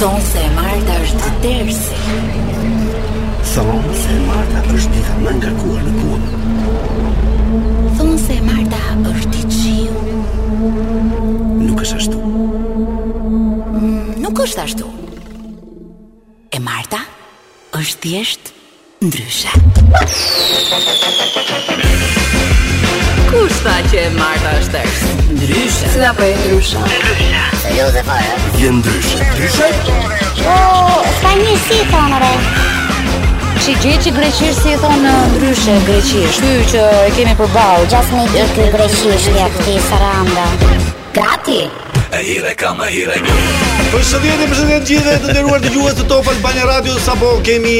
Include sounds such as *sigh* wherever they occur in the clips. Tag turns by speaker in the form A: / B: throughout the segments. A: Thonë se e Marta është tërsi
B: Thonë se Marta është dita më nga kuar në punë
A: Thonë se e Marta është i qiu
B: Nuk është ashtu
A: Nuk është ashtu E Marta është thjesht ndryshe Kush tha që e Marta është tërsi? Ndryshe Sila për e ndryshe
B: Je ndryshe Ndryshe?
C: Ska një si e thonë re
D: Që gjë që greqisht si e thonë në ndryshe greqisht. Ky që e kemi përballë.
C: Gjas me ditë këj greqishtja këti saranda Gati
B: E hire kam, e hire
E: Përshëndetje, përshëndetje të gjithëve të nderuar dëgjues të Top Albania Radio, sapo kemi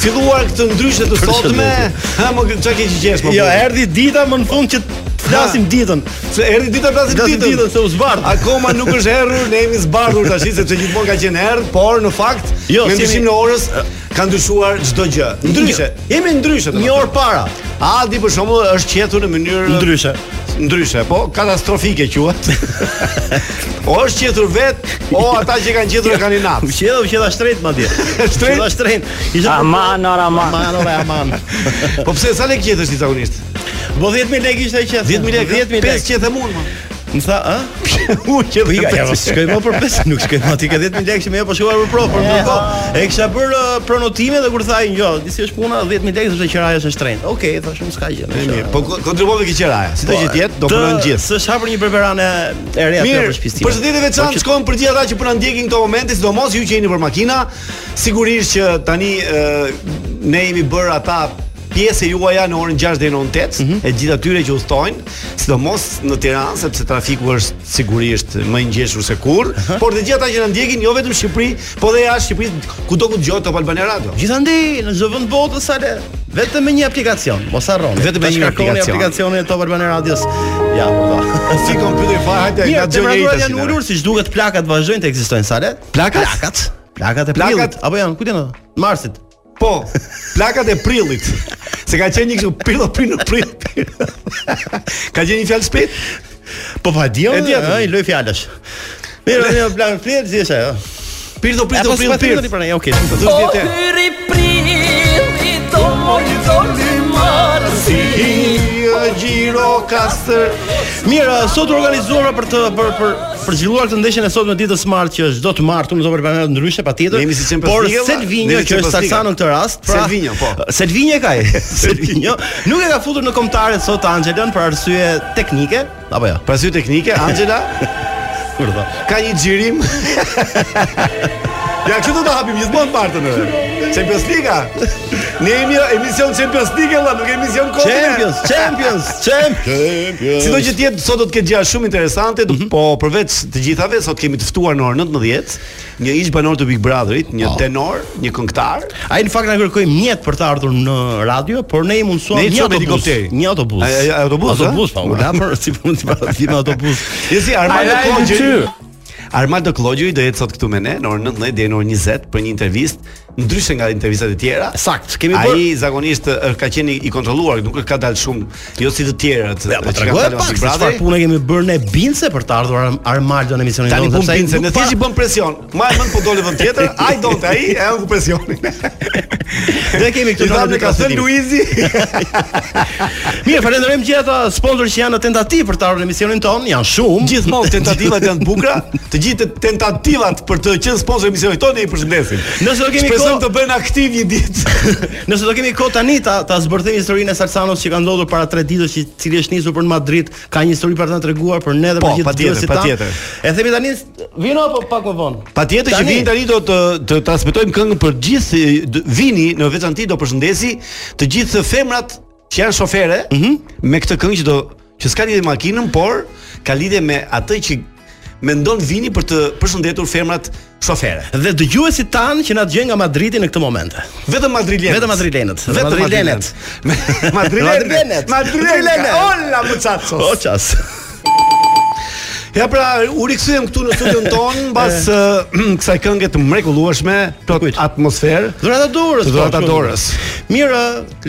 E: filluar këtë ndryshje të sotme. Ha, më çka ke po, qesh më?
F: Jo, erdhi dita më në fund që të flasim ditën.
E: se erdhi dita plasim
F: Flasim
E: ditën.
F: ditën se u zbardh.
E: Akoma nuk është errur, ne jemi zbardhur tash sepse gjithmonë ka qenë errë, por në fakt
F: Jo,
E: me
F: si
E: ndryshimin
F: jemi- Jo,
E: e orës ka ndryshuar çdo gjë. Ndryshe. Jemi ndryshe.
F: Një orë para.
E: Adi për shembull është qetur në mënyrë
F: Ndryshe.
E: Ndryshe, po katastrofike
F: *laughs*
E: quhet. o është qetur vet, o ata që kanë qetur e kanë inat.
F: U qella, Jo, u qella shtret
E: *laughs*
F: madje.
E: Shtret?
F: Qella shtret.
E: Ah.
F: Ishte
G: Aman, ora, aman.
F: Aman, ora, aman.
E: Po pse sa lek qetesh ti zakonisht?
F: Bo 10000 lekë ishte e qetë.
E: 10000 lekë, 5
F: 10000 lekë.
E: qetë mund. ma.
F: Më tha, *laughs* ë?
E: U që
F: Po ja, ja, mos shkoj më për 5, nuk shkoj
E: *laughs*
F: më aty ka 10000 lekë që më po shkuar për provë, por ndërkohë e kisha bër uh, pronotime dhe kur tha ai, "Jo, disi është puna, 10000 lekë është qiraja është shtrenjtë." Okej, thashë, "Nuk s'ka gjë." nuk
E: E
F: s'ka."
E: mirë, po ko- kontribuove ke qeraja. Si do që të jetë, do
F: Të-
E: punojnë gjithë.
F: S'është hapur një preparane e re aty
E: Mirë,
F: për shtëpi.
E: përshëndetje veçantë shkojmë për gjithë ata që po na ndjekin këto momente, sidomos ju që jeni për makina. Sigurisht që tani ë, ne jemi bër ata pjesë e juaja në orën 6 deri në orën 8,
F: Mhm.
E: e gjithë atyre që udhtojnë, sidomos në Tiranë sepse trafiku është sigurisht më i ngjeshur se kurrë, por të gjithë ata që na ndjekin jo vetëm në Shqipëri, po dhe jashtë Shqipërisë, kudo ku dëgjohet Top Albania Radio.
F: Gjithandej në çdo vend botës sale vetëm me një aplikacion, mos harroni.
E: Vetëm me
F: Ta
E: një
F: shkarkoni
E: aplikacion.
F: aplikacionin e Top Albana Radios. Ja, po. *laughs* ta.
E: Si kompjuteri fa, hajde, na
F: Mirë,
E: dëgjoj
F: temperaturat
E: njëri
F: janë ulur, siç duket plakat vazhdojnë të ekzistojnë sale.
E: Plakat?
F: Plakat. Plakat e
E: Plakat?
F: prillit apo janë ku janë? Marsit.
E: Po, plakat e prillit. Se ka qenë një kështu prillo prill prill. prill. Ka qenë një fjalë spit?
F: Po pa di,
E: E di atë.
F: ai loj fjalësh. Mirë, mirë, *laughs* plan prill, si është ajo?
E: Prillo
F: Ja,
E: prillo
F: po, s'pa
E: prillo
F: thënë tani
E: prill.
F: pra, ja, okay. shumë po, të
E: Do
F: thua.
E: të jetë.
H: Hyri prilli doli doli marsi
E: Gjiro Kastër
F: Mirë, uh, sot u organizuara për të për për për zhvilluar këtë ndeshjen e sotme ditës së martë që është do të martë në Zopër Planet ndryshe patjetër.
E: Ne jemi si Champions
F: Por
E: League-a, ne
F: Selvinjo
E: jemi
F: që është
E: Champions League-a.
F: saksa në këtë rast, pra
E: Selvinjo, po.
F: Selvinjo e ka ai. *laughs* Selvinjo nuk e ka futur në kombëtare sot Angelën për arsye teknike, apo jo?
E: Pasy teknike, Angela
F: Kur do?
E: Ka një gjirim Ja, kështu do të hapim gjithmonë partën e Champions Liga Ne jemi emision Champions League valla, Nuk emision kohë
F: Champions, Champions, Champions.
E: Sido që të jetë sot do të ketë gjëra shumë interesante, do-
F: Mhm.
E: po përveç të gjithave sot kemi të ftuar në orën 19, një ish banor të Big Brotherit, një
F: Po.
E: tenor, një këngëtar.
F: Ai në fakt na kërkoi mjet për të ardhur në radio, por ne i
E: Ne
F: mundsuam
E: i
F: një
E: çojmë
F: autobus.
E: helikopteri.
F: Një autobus.
E: Ai- ai- autobus, a?
F: autobus, pa u la për si punë si para me autobus.
E: Je si Armando
G: like
E: Klogjeri.
G: you.
E: Armando Klogjeri do jetë sot këtu me ne në orën 19 deri në orën 20 për një intervistë ndryshe nga intervistat e tjera.
F: Sakt, kemi bërë
E: Ai zakonisht ë, ka qenë i- i kontrolluar, nuk ka dalë shumë, jo si të tjerët.
F: Ja, po
E: që kanë
F: tregoj
E: dalë nga
F: pak
E: Big
F: se
E: Brother.
F: çfarë punë kemi bërë ne binse për të ardhur Ar- Armaldo në emisionin
E: Tani pun
F: sepse ai
E: pince,
F: nuk
E: ne po-
F: pa-
E: thjesht i bën presion. Ma e mend po dole vend tjetër, ai donte ai, e ku presionin. *laughs*
F: Ne kemi këtu
E: I thamë
F: numrin
E: ne
F: e
E: ka thënë
F: transmetimit.
E: Luizi.
F: Mirë, falenderojmë gjithë ata sponsorë që janë në tentativë për të ardhur në emisionin ton, janë shumë.
E: *laughs* Gjithmonë tentativat janë të bukura, të gjithë tentativat për të qenë sponsor emisionit tonë ne i përshëndesim.
F: Nëse do kemi
E: Shpresojmë
F: kohë-
E: të bëjnë aktiv një ditë.
F: *laughs* Nëse do kemi kohë tani ta, ta zbërthejmë historinë e Salsanos që ka ndodhur para 3 ditësh, që cili është nisur për në Madrid, ka një histori për ta treguar për ne dhe
E: Po,
F: për gjithë
E: patjetër,
F: dëgjuesit tan.
E: patjetër.
F: E themi tani vino apo pak më vonë?
E: Patjetër që vini tani do të të transmetojmë këngën për gjithë d- vini në veçantë do përshëndesi të gjithë femrat që janë shofere
F: Mhm.
E: me këtë këngë që do që s'ka lidhje me makinën, por ka lidhje me atë që mendon vini për të përshëndetur femrat shofere.
F: Dhe dëgjuesit tan që na dëgjojnë nga Madridi në këtë moment.
E: Vetëm madrilenët.
F: Vetëm madrilenët.
E: Vetëm madrilenët.
F: Madrilenët. *laughs*
E: Madrilenët. Madrilenët.
F: Madrilenët. *laughs* Madrilenët.
E: Olla muchachos.
F: O ças.
E: Ja pra, u rikthyem këtu në studion
F: *laughs*
E: ton mbas ë, *clears throat* kësaj këngë të mrekullueshme, plot
F: Kujt?
E: atmosferë.
F: Dhurata dorës. po,
E: Dhurata
F: kështu.
E: dorës.
F: Mirë,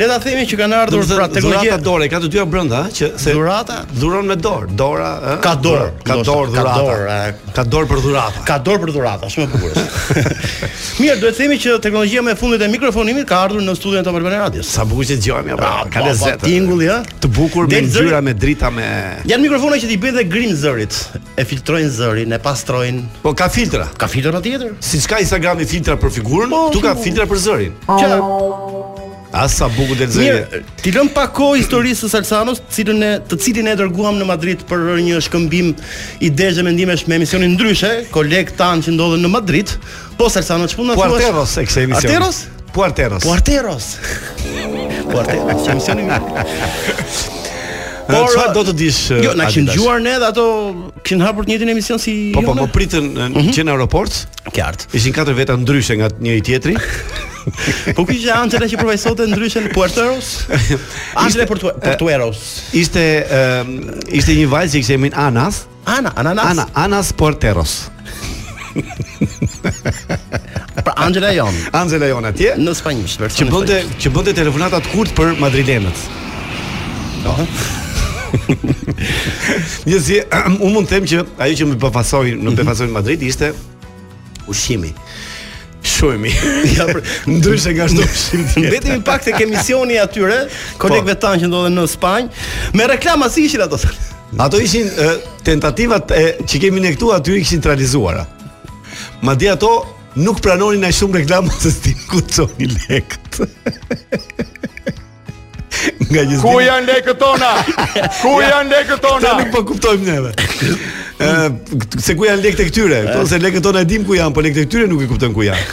F: le ta themi që kanë ardhur pra teknologjia.
E: Dhurata dore, ka të dyja brenda, ëh, që se
F: Dhurata?
E: dhuron me dorë, dora, ëh.
F: Ka dorë,
E: ka
F: ndoshta,
E: dorë
F: ka
E: dhurata.
F: dorë, e.
E: Ka dorë për dhurata.
F: Ka dorë për dhurata, shumë e
E: *laughs*
F: bukur. është. Mirë, duhet themi që teknologjia me fundit e mikrofonimit ka ardhur në studion të Albania Radios.
E: Sa bukur që dëgjojmë, ja pra,
F: Pra,
E: ka
F: pa, pa,
E: lezet.
F: tingulli, ëh.
E: Të bukur me
F: Del zëri-
E: ngjyra, me drita, me
F: Janë mikrofona që t'i bëjnë dhe grim zërit, e filtrojnë zërin, e pastrojnë.
E: Po ka filtra.
F: Ka filtr patjetër.
E: Siç ka Instagrami filtra për figurën,
F: Po,
E: këtu ka
F: shumë.
E: filtra për zërin.
F: Që
E: A sa bukur del
F: Mirë,
E: zëri.
F: ti lëm pak kohë historisë së Salsanos, cilën e të cilin e dërguam në Madrid për një shkëmbim idesh dhe mendimesh me emisionin ndryshe, koleg tan që ndodhen në Madrid. Po Salsano çfarë na thua?
E: Puarteros e kishte emision.
F: Arteros?
E: Puarteros.
F: *laughs* Puarteros. Puarteros, që emisioni
E: *laughs*
F: mirë.
E: Por çfarë do të dish? eh,
F: Jo, na kishin
E: Adidas?
F: gjuar ne dhe ato kishin hapur të njëjtin emision si jo,
E: Po po,
F: jona.
E: po pritën eh,
F: Mhm.
E: që në aeroport,
F: qartë.
E: ishin katër veta ndryshe nga njëri tjetri.
F: Po ku ishte Angela që përfaqësonte ndryshe në
E: *laughs*
F: Puerteros? Angela Portu- Portueros.
E: Ishte eh, ishte një vajzë që kishte emrin Anas,
F: Ana, ananas.
E: Ana Anas Puarteros.
F: Pra Angela jon.
E: Anxela jon atje,
F: Në spanjisht,
E: që
F: versioni
E: bënte që bënte telefonata të kurtë për madrilenët. *laughs* Një si *clears throat* unë mund të them që ajo që më befasoi, më befasoi në Madrid ishte ushqimi. Shojmi. *laughs* ja, për, ndryshe nga çdo ushqim tjetër.
F: Mbetemi pak tek emisioni i *laughs* atyre,
E: po.
F: kolegëve tanë që ndodhen në Spanjë, me reklama si ishin ato.
E: *laughs* Ato ishin e, tentativat e, që kemi ne këtu aty i kishin të realizuara. Madje ato nuk pranonin ai shumë reklama se s'ti ku çoni lekët. *laughs* Nga një
G: Ku janë lekët tona? Ku janë lekët
E: Ta
G: tona?
E: nuk po kuptojmë neve. Ë se ku janë lekët e këtyre? Këto se lekët tona e dim ku janë, po lekët e këtyre nuk e kuptojmë ku janë.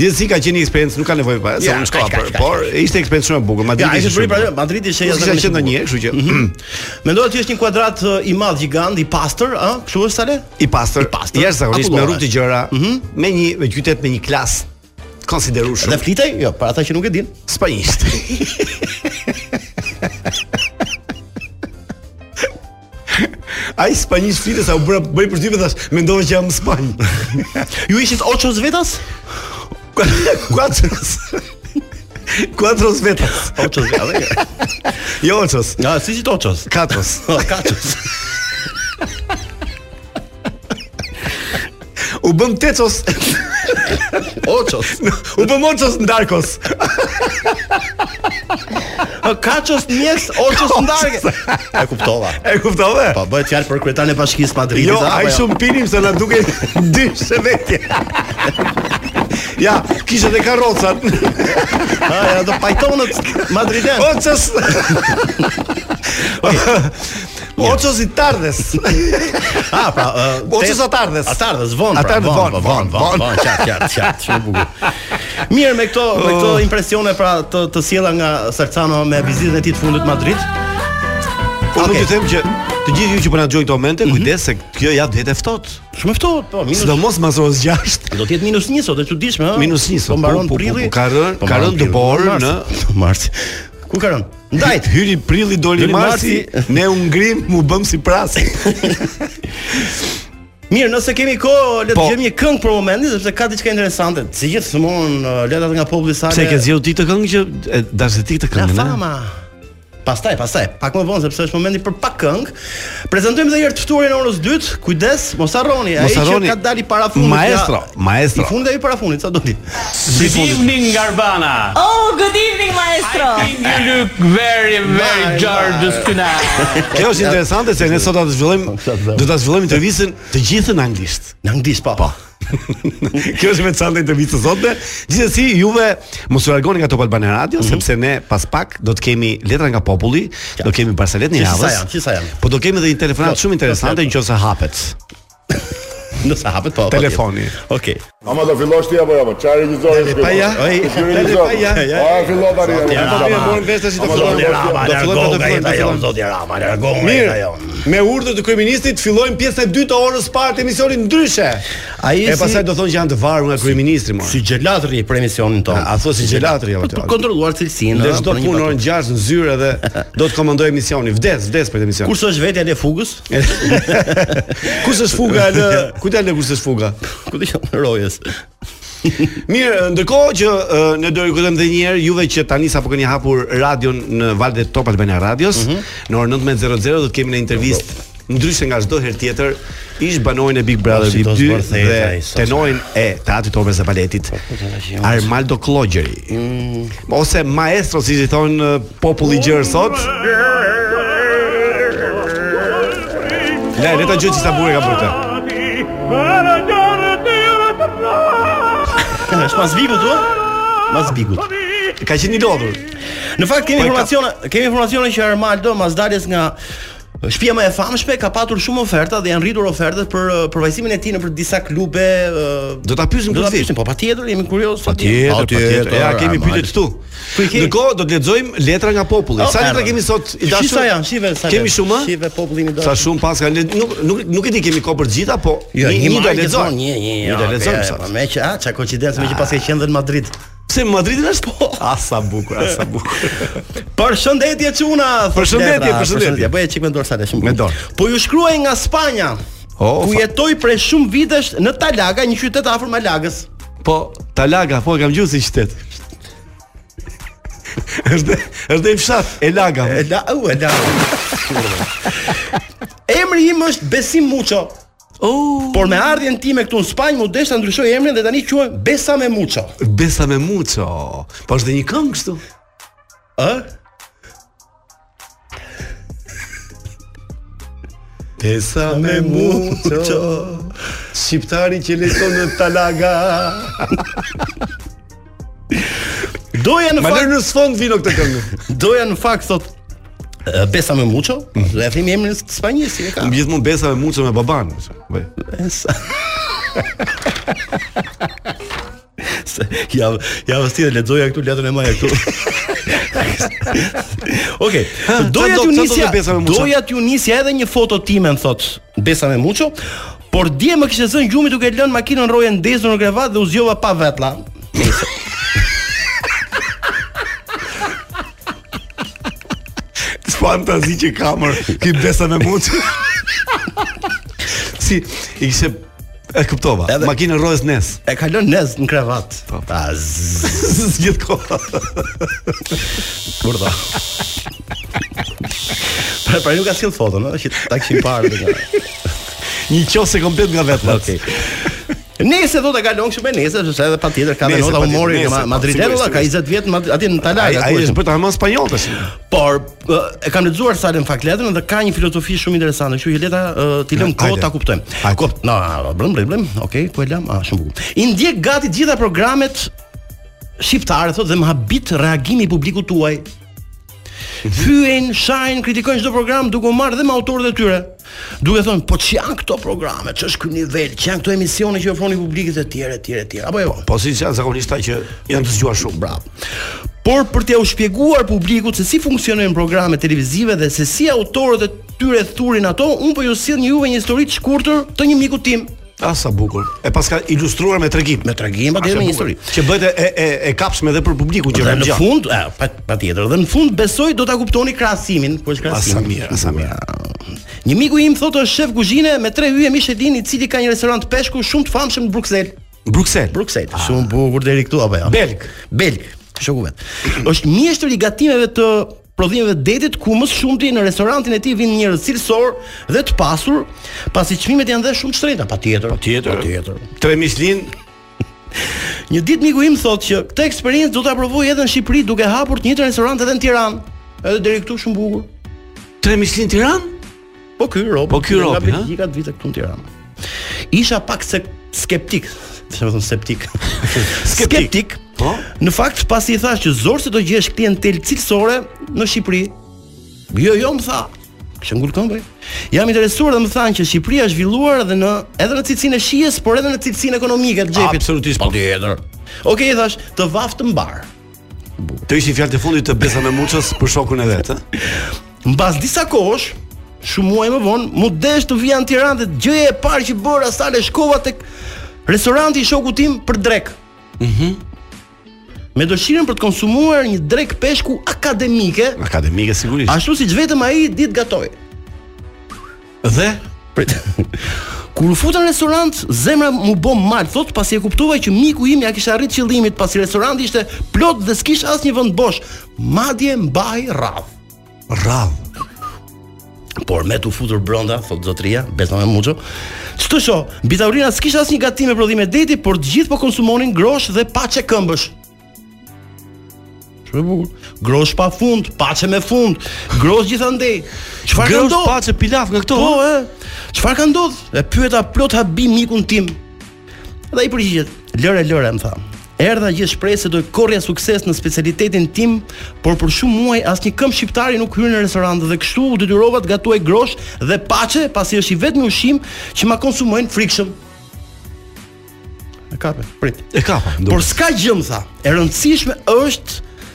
E: Gjithsesi ka qenë një eksperiencë, nuk ka nevojë pa, se
F: Ja,
E: unë
F: kaq,
E: shkoa,
F: kaq,
E: por,
F: kaq,
E: por ishte eksperiencë shumë e bukur. Madje
F: Ja, ai
E: ishte
F: është
E: shumë
F: bëri
E: e
F: pra
E: bukur.
F: Madridi është
E: Nuk
F: jashtëzakonisht
E: Ishte
F: i
E: qenë ndonjë,
F: bukur.
E: kështu që
F: Mendohet që është një kuadrat ë, i madh, gjigant, i pastër, ë? Kështu është sale?
E: i pastër,
F: I pastër,
E: jashtëzakonisht me
F: akullore.
E: rrugë të gjëra, me një me qytet me një klasë konsiderueshme
F: Dhe flitej? Jo, për ata që nuk e din.
E: spanjisht. Ai spanjisht flitet sa u bëra bëri për ty dhe thash, mendova që jam në Spanjë.
F: Ju ishit ocho zvetas?
E: Kuatros. Kuatros vetas.
F: Ocho zvetas.
E: Jo otros.
F: Ja, si ishit ochos? *laughs*
E: Katros.
F: Kaços.
E: U bëm tecos,
F: Ochos.
E: u bëm otros ndarkos.
F: Kaços *laughs* mjes, ochos
E: *laughs*
F: ndarke. E kuptova.
E: E kuptove?
F: Po bëhet fjalë për kryetarin e Bashkisë Madridit.
E: Jo,
F: apo
E: ai
F: jo?
E: shumë pinim se na duke *laughs* dysh se vetje. Ja, kishte edhe karrocat. *laughs*
F: Ah, ja, do pajtonët madrilen.
E: *laughs*
F: *laughs*
E: Otros. Otros i tardes.
F: *laughs* Ah, pra,
E: *laughs*
F: uh,
E: Otros atardhes.
F: Atardhes von, pra,
E: Atardhes,
F: von,
E: von,
F: von, von,
E: von.
F: von, qartë, qartë,
E: *laughs*
F: qartë, shumë bukur. Mirë me këto, me këto
E: Oh.
F: impresione pra të të sjella nga Salcano me vizitën e tij të fundit në Madrid.
E: Po nuk
F: Okej.
E: ju them që të gjithë ju që po na dëgjojnë këto momente, kujdes se kjo javë duhet e ftohtë.
F: Shumë ftohtë, po, Mhm. minus
E: Sidomos mas orës 6.
F: do të jetë minus 1 sot, e çuditshme, ëh.
E: Minus një sot,
F: Po mbaron
E: po, po, po,
F: prilli.
E: ka rënë-
F: Po
E: ka
F: mbaron
E: rënë të
F: prilli,
E: borë
F: marsi. *laughs* marsi. Ku ka rënë? Ndajt.
E: Dajt, *laughs* hyri prilli doli
F: Doli
E: marsi,
F: marsi.
E: ne u ngrim, u bëm si prasi.
F: Mirë, nëse kemi kohë, le të
E: Po.
F: dëgjojmë një këngë për momentin sepse ka diçka interesante. Si gjithmonë letat nga populli sa
E: Pse ke zgjedhur ti të këngë që e, dashë ti të
F: La
E: këngën? e?
F: fama. Pastaj, pastaj, pak më vonë sepse është momenti për pak këngë. Prezantojmë edhe një herë të ftuarin e orës 2. Kujdes, mos harroni, ai
E: Mos
F: që
E: harroni.
F: ka dalë i para fundit.
E: Maestro,
F: nga-
E: maestro.
F: I fundi ai para fundit, sa do ti.
I: Good evening, Garbana.
J: Oh, good evening, maestro.
I: I think you look very, very gorgeous tonight.
E: Kjo është interesante se ne sot do të
F: *laughs*
E: zhvillojmë do ta zhvillojmë intervistën të gjithën në anglisht.
F: Në anglisht pa. Pa.
E: Kjo është veçanta intervistë sotme. Gjithsesi, juve mos u largoni nga Top Albana Radio
F: Mhm.
E: sepse ne pas pak do të kemi letra nga populli, do kemi barsaletën e
F: Që sa
E: javës.
F: janë, që sa janë. Jo,
E: Po do kemi edhe një telefonat
F: Plot,
E: shumë interesante
F: plot,
E: nëse hapet.
F: *laughs* Nëse hapet po.
E: Telefoni.
F: patjetër. Okej.
G: Ama do fillosh ti apo apo? Çfarë regjizore?
E: Dale, pa ja.
F: Oj,
E: dale, pa ja.
G: Ah, fillo tani.
E: Po mirë, morën vesh tash i të
G: Ama do
E: fillojmë.
G: të
E: Do
F: Rama,
E: fillojmë, do
F: largo
E: fillojmë,
F: gajeta
E: do
F: jon,
E: fillojmë.
F: zoti Rama, largo
E: Mirë.
F: gajeta jon.
E: me urdhër të kryeministit fillojmë pjesën e dytë të orës parë të emisionit ndryshe.
F: Ai
E: e
F: si-
E: pastaj do thonë që janë të varur nga kryeministri më.
F: Si gjelatri për emisionin tonë.
E: A, a thua si gjelatri, apo
F: Po, Për
E: gjelatri?
F: kontrolluar cilësinë.
E: Dhe
F: a,
E: çdo
F: për një
E: punë
F: patur-
E: orën 6 në zyrë dhe do të komandoj emisioni. Vdes, vdes për këtë emision.
F: Kurse është vetja e fugës,
E: *laughs* Kush është fuga lë? *laughs* Kujt lë kush është fuga?
F: ku do qenë rojes.
E: Mirë, ndërkohë që ë, ne do rikujtojmë edhe një herë juve që tani sapo keni hapur radion në valët e Top Albania Radios,
F: Mhm.
E: në orën 19:00 do të kemi në intervistë ndryshe nga çdo herë tjetër ish banorin e Big Brother
F: Po, si
E: Vip
F: do
E: 2
F: zbërthehet
E: dhe
F: ai sot.
E: tenorin e Teatrit të Operës dhe Baletit
F: Po,
E: Armaldo Klogjeri
F: Mm.
E: ose maestro siç i thon ë, populli gjerë sot. Le, le ta gjë që sa burë ka bërë këtë.
F: Është pas vikut u? Mas vikut.
E: Ka qenë i lodhur.
F: Në fakt
E: Po, e
F: kemi
E: ka-
F: informacione, kemi informacione që Armaldo mas daljes nga Shtëpia më e famshme ka patur shumë oferta dhe janë rritur ofertat për uh, përvajsimin e tij nëpër disa klube. uh,
E: Do ta pyesim
F: do ta
E: këtë vit.
F: pyesim, po patjetër jemi kurioz.
E: Ja kemi pyetje këtu.
F: Po i kemi.
E: Ndërkohë do të lexojmë letra nga populli.
F: Oh,
E: Sa letra
F: erë.
E: kemi sot i
F: Shi
E: dashur?
F: sa janë, shive sa
E: Kemi
F: letra?
E: shumë? ë?
F: Shive populli mi dorë.
E: Sa shumë pas kanë let- nuk nuk nuk e di kemi kohë për të gjitha, po
F: Jo,
E: një
F: një
E: një do e
F: marrë gjithmonë,
E: lexojmë.
F: Një, një,
E: Një do e
F: okay,
E: lexojmë
F: po
E: sot.
F: Me që, a, çka koincidencë me që pas ke qenë dhe në Madrid.
E: Pse Madridin është po? *laughs* A sa bukur, a sa bukur.
F: Përshëndetje çuna. thot
E: Përshëndetje,
F: letra,
E: përshëndetje.
F: Po e çik me dorë sa le shumë.
E: Me
F: bukur.
E: dorë.
F: Po ju shkruaj nga Spanja.
E: Oh,
F: ku
E: fa-
F: jetoj prej shumë vitesh në Talaga, një qytet afër Malagës.
E: *laughs* Po Talaga, po e kam gjuhë si qytet. *laughs* Është është në fshat e Laga.
F: E la, u, e la. *laughs* Emri im është Besim Muço.
E: Oh,
F: Por me ardhjen time këtu në Spanjë mu desh ta ndryshoj emrin dhe tani quhem Besame Muço.
E: besa me mucho. Po është dhe një këngë kështu.
F: Ë?
E: Besa me
F: Muço.
E: Shqiptari që lexon në Talaga.
F: Doja në
E: Ma lër
F: fakt,
E: në sfond vino këtë këngë.
F: doja në fakt thot e, Besame Muço, do e flim emrin spanjisht si e ka.
E: Unë *laughs* gjithmonë besa me mucën me baban. Vaj.
F: Sa- Se, ja ja vështirë lexoja këtu letrën e maja
E: *laughs*
F: këtu. Okej.
E: Ha, qa
F: Doja
E: do-
F: t'ju
E: qa do
F: nisja
E: të besa me muço?
F: doja t'ju nisja edhe një foto time më thot Besa me Muço, por dje më kishte zënë gjumi duke lënë makinën roje ndezur në krevat dhe u zgjova pa vetlla.
E: Fantazi që kamër. Ki besa me mucën. si i kishe e kuptova.
F: Edhe-
E: Makinën rrodhës
F: *laughs*
E: nes.
F: E ka lënë nez në krevat.
E: Po.
F: Ta zzz,
E: Gjithkohë.
F: burda. Pra, pra nuk ka sill foton, ëh, që ta kishim parë. dhe nga-
E: Një qose komplet nga vetlat.
F: Okej. Nese do të kalon kështu me nese, sepse edhe patjetër ka dhe
E: Nese,
F: nota
E: patjetër,
F: humori
E: nese,
F: ma-
E: po,
F: Madridero
E: sigurisht,
F: ka 20 vjet në Madri- atje në
E: Ai
F: Talaga.
E: ai
F: ku
E: është
F: është.
E: bërë tamam spanjoll tash.
F: Por e kam lexuar sa në fakt letrën dhe ka një filozofi shumë interesante, kështu që leta e, ti lëm
E: Na,
F: kohë
E: hajde.
F: ta kuptojmë.
E: Hajde.
F: Kop, na, brëm, brëm, brëm. Okej, po e lam, ah, shumë bukur. I ndjek gati të gjitha programet shqiptare thotë dhe më habit reagimi i publikut tuaj. Fyen, shajn, kritikojnë çdo program duke u marrë dhe me autorët e tyre. Duke thonë, po ç'janë këto programe, ç'është ky nivel, ç'janë këto emisione që ofroni publikut e tjerë, e tjerë, e tjerë. Apo jo.
E: Po si janë zakonisht ata që janë të zgjuar shumë. Bravo.
F: Por për t'ja u shpjeguar publikut se si funksionojnë programet televizive dhe se si autorët e tyre thurin ato, unë po ju sill një juve një histori të shkurtër të një miku tim.
E: A Ah, sa bukur. E paska ilustruar me tregim.
F: Me tregim
E: Aq e
F: atë
E: bukur.
F: me një histori.
E: Që bëhet e e e kapshme edhe për publikun që
F: Po Dhe
E: vjen
F: në
E: gjatë.
F: fund, e, pa patjetër, dhe në fund besoj do ta kuptoni krahasimin, po është
E: A sa
F: krahasimi.
E: mirë, a sa mirë.
F: Një miku im thotë është shef kuzhine me tre hyje Michelin i cili ka një restorant peshku shumë të famshëm në Bruksel.
E: Bruksel.
F: Bruksel. Shumë bukur deri këtu apo jo?
E: Belg.
F: Belg, shoku vet. Është mjeshtër i gatimeve të prodhimeve të detit ku më shumti në restorantin e tij vinë njerëz cilësor dhe të pasur, pasi çmimet janë dhe shumë të shtrenjta patjetër.
E: Patjetër.
F: Patjetër.
E: Tre Michelin,
F: Një ditë miku im thotë që këtë eksperiencë do ta provoj edhe në Shqipëri duke hapur të njëjtin restorant edhe në Tiranë. Edhe deri këtu shumë bukur.
E: tre Michelin Tiranë?
F: Po ky Robi.
E: Po ky
F: Nga
E: Robi, ha?
F: Belgjika të vite këtu në Tiranë. Isha pak se skeptik, *laughs* të
E: *laughs*
F: them septik. skeptik.
E: Po?
F: Në fakt pasi i thash që zor se do gjesh klientel cilësore në Shqipëri. Jo, jo, më tha. Kishë ngul këmbë. Jam interesuar dhe më thanë që Shqipëria është zhvilluar edhe në edhe në cilësinë e shijes, por edhe në cilësinë ekonomike të xhepit.
E: Absolutisht po.
F: Patjetër. Okej, i thash, të vaft të mbar.
E: Të ishin fjalët e fundit të Besa me Muçës për shokun e vet, ë?
F: Mbas disa kohësh, shumë muaj më vonë, mu desh të vija në Tiranë dhe gjëja e parë që bëra sale shkova tek restoranti i shokut tim për drek. Mhm. me dëshirën për të konsumuar një drek peshku akademike,
E: Akademike sigurisht.
F: ashtu siç vetëm ai ditë gatoi.
E: Dhe
F: Prit. *laughs* Kur u futa në restorant, zemra mu bë mal, thot pasi e kuptova që miku im ja kishte arrit qëllimit, pasi restoranti ishte plot dhe s'kish asnjë vend bosh. Madje mbaj radh.
E: radh.
F: Por me tu futur brenda, thot zotria, besa me mucho. Ç'të shoh, mbi tavolina s'kish asnjë gatim me prodhime deti, por të gjithë po konsumonin grosh dhe paçe këmbësh. Shumë e bukur. Grosh pa fund, paçe me fund, grosh gjithandej. Çfarë ka
E: Grosh
F: ndodhur?
E: paçe pilaf nga këto.
F: Po, e. Çfarë ka ndodhur? E pyeta plot habi mikun tim. Dhe i përgjigjet, "Lëre, lëre," më tha. Erdha gjithë shpresë se do të korrja sukses në specialitetin tim, por për shumë muaj asnjë këmbë shqiptari nuk hyrë në restorant dhe kështu u detyrova të gatuaj grosh dhe paçe, pasi është i vetmi ushqim që ma konsumojnë frikshëm. E kape, prit.
E: E po, kapa.
F: Por s'ka gjë më tha. E rëndësishme është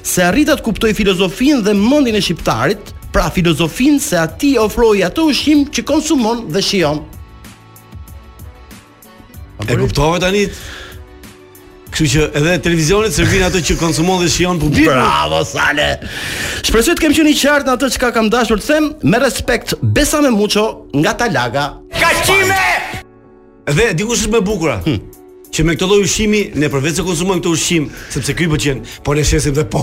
F: se arrita të kuptoj filozofinë dhe mendjen e shqiptarit, pra filozofinë se ati ofroi atë ushqim që konsumon dhe shijon.
E: E kuptove tani? Kështu që edhe televizionit servin ato që konsumon dhe shijon publiku.
F: Bravo Sale. Shpresoj të kem qenë i qartë në atë çka kam dashur të them, me respekt, besa me mucho nga Talaga.
E: Dhe dikush është më e bukura.
F: Hm.
E: Që me këtë lloj ushqimi ne përveç se konsumojmë këtë ushqim, sepse ky i pëlqen, po ne shesim dhe po.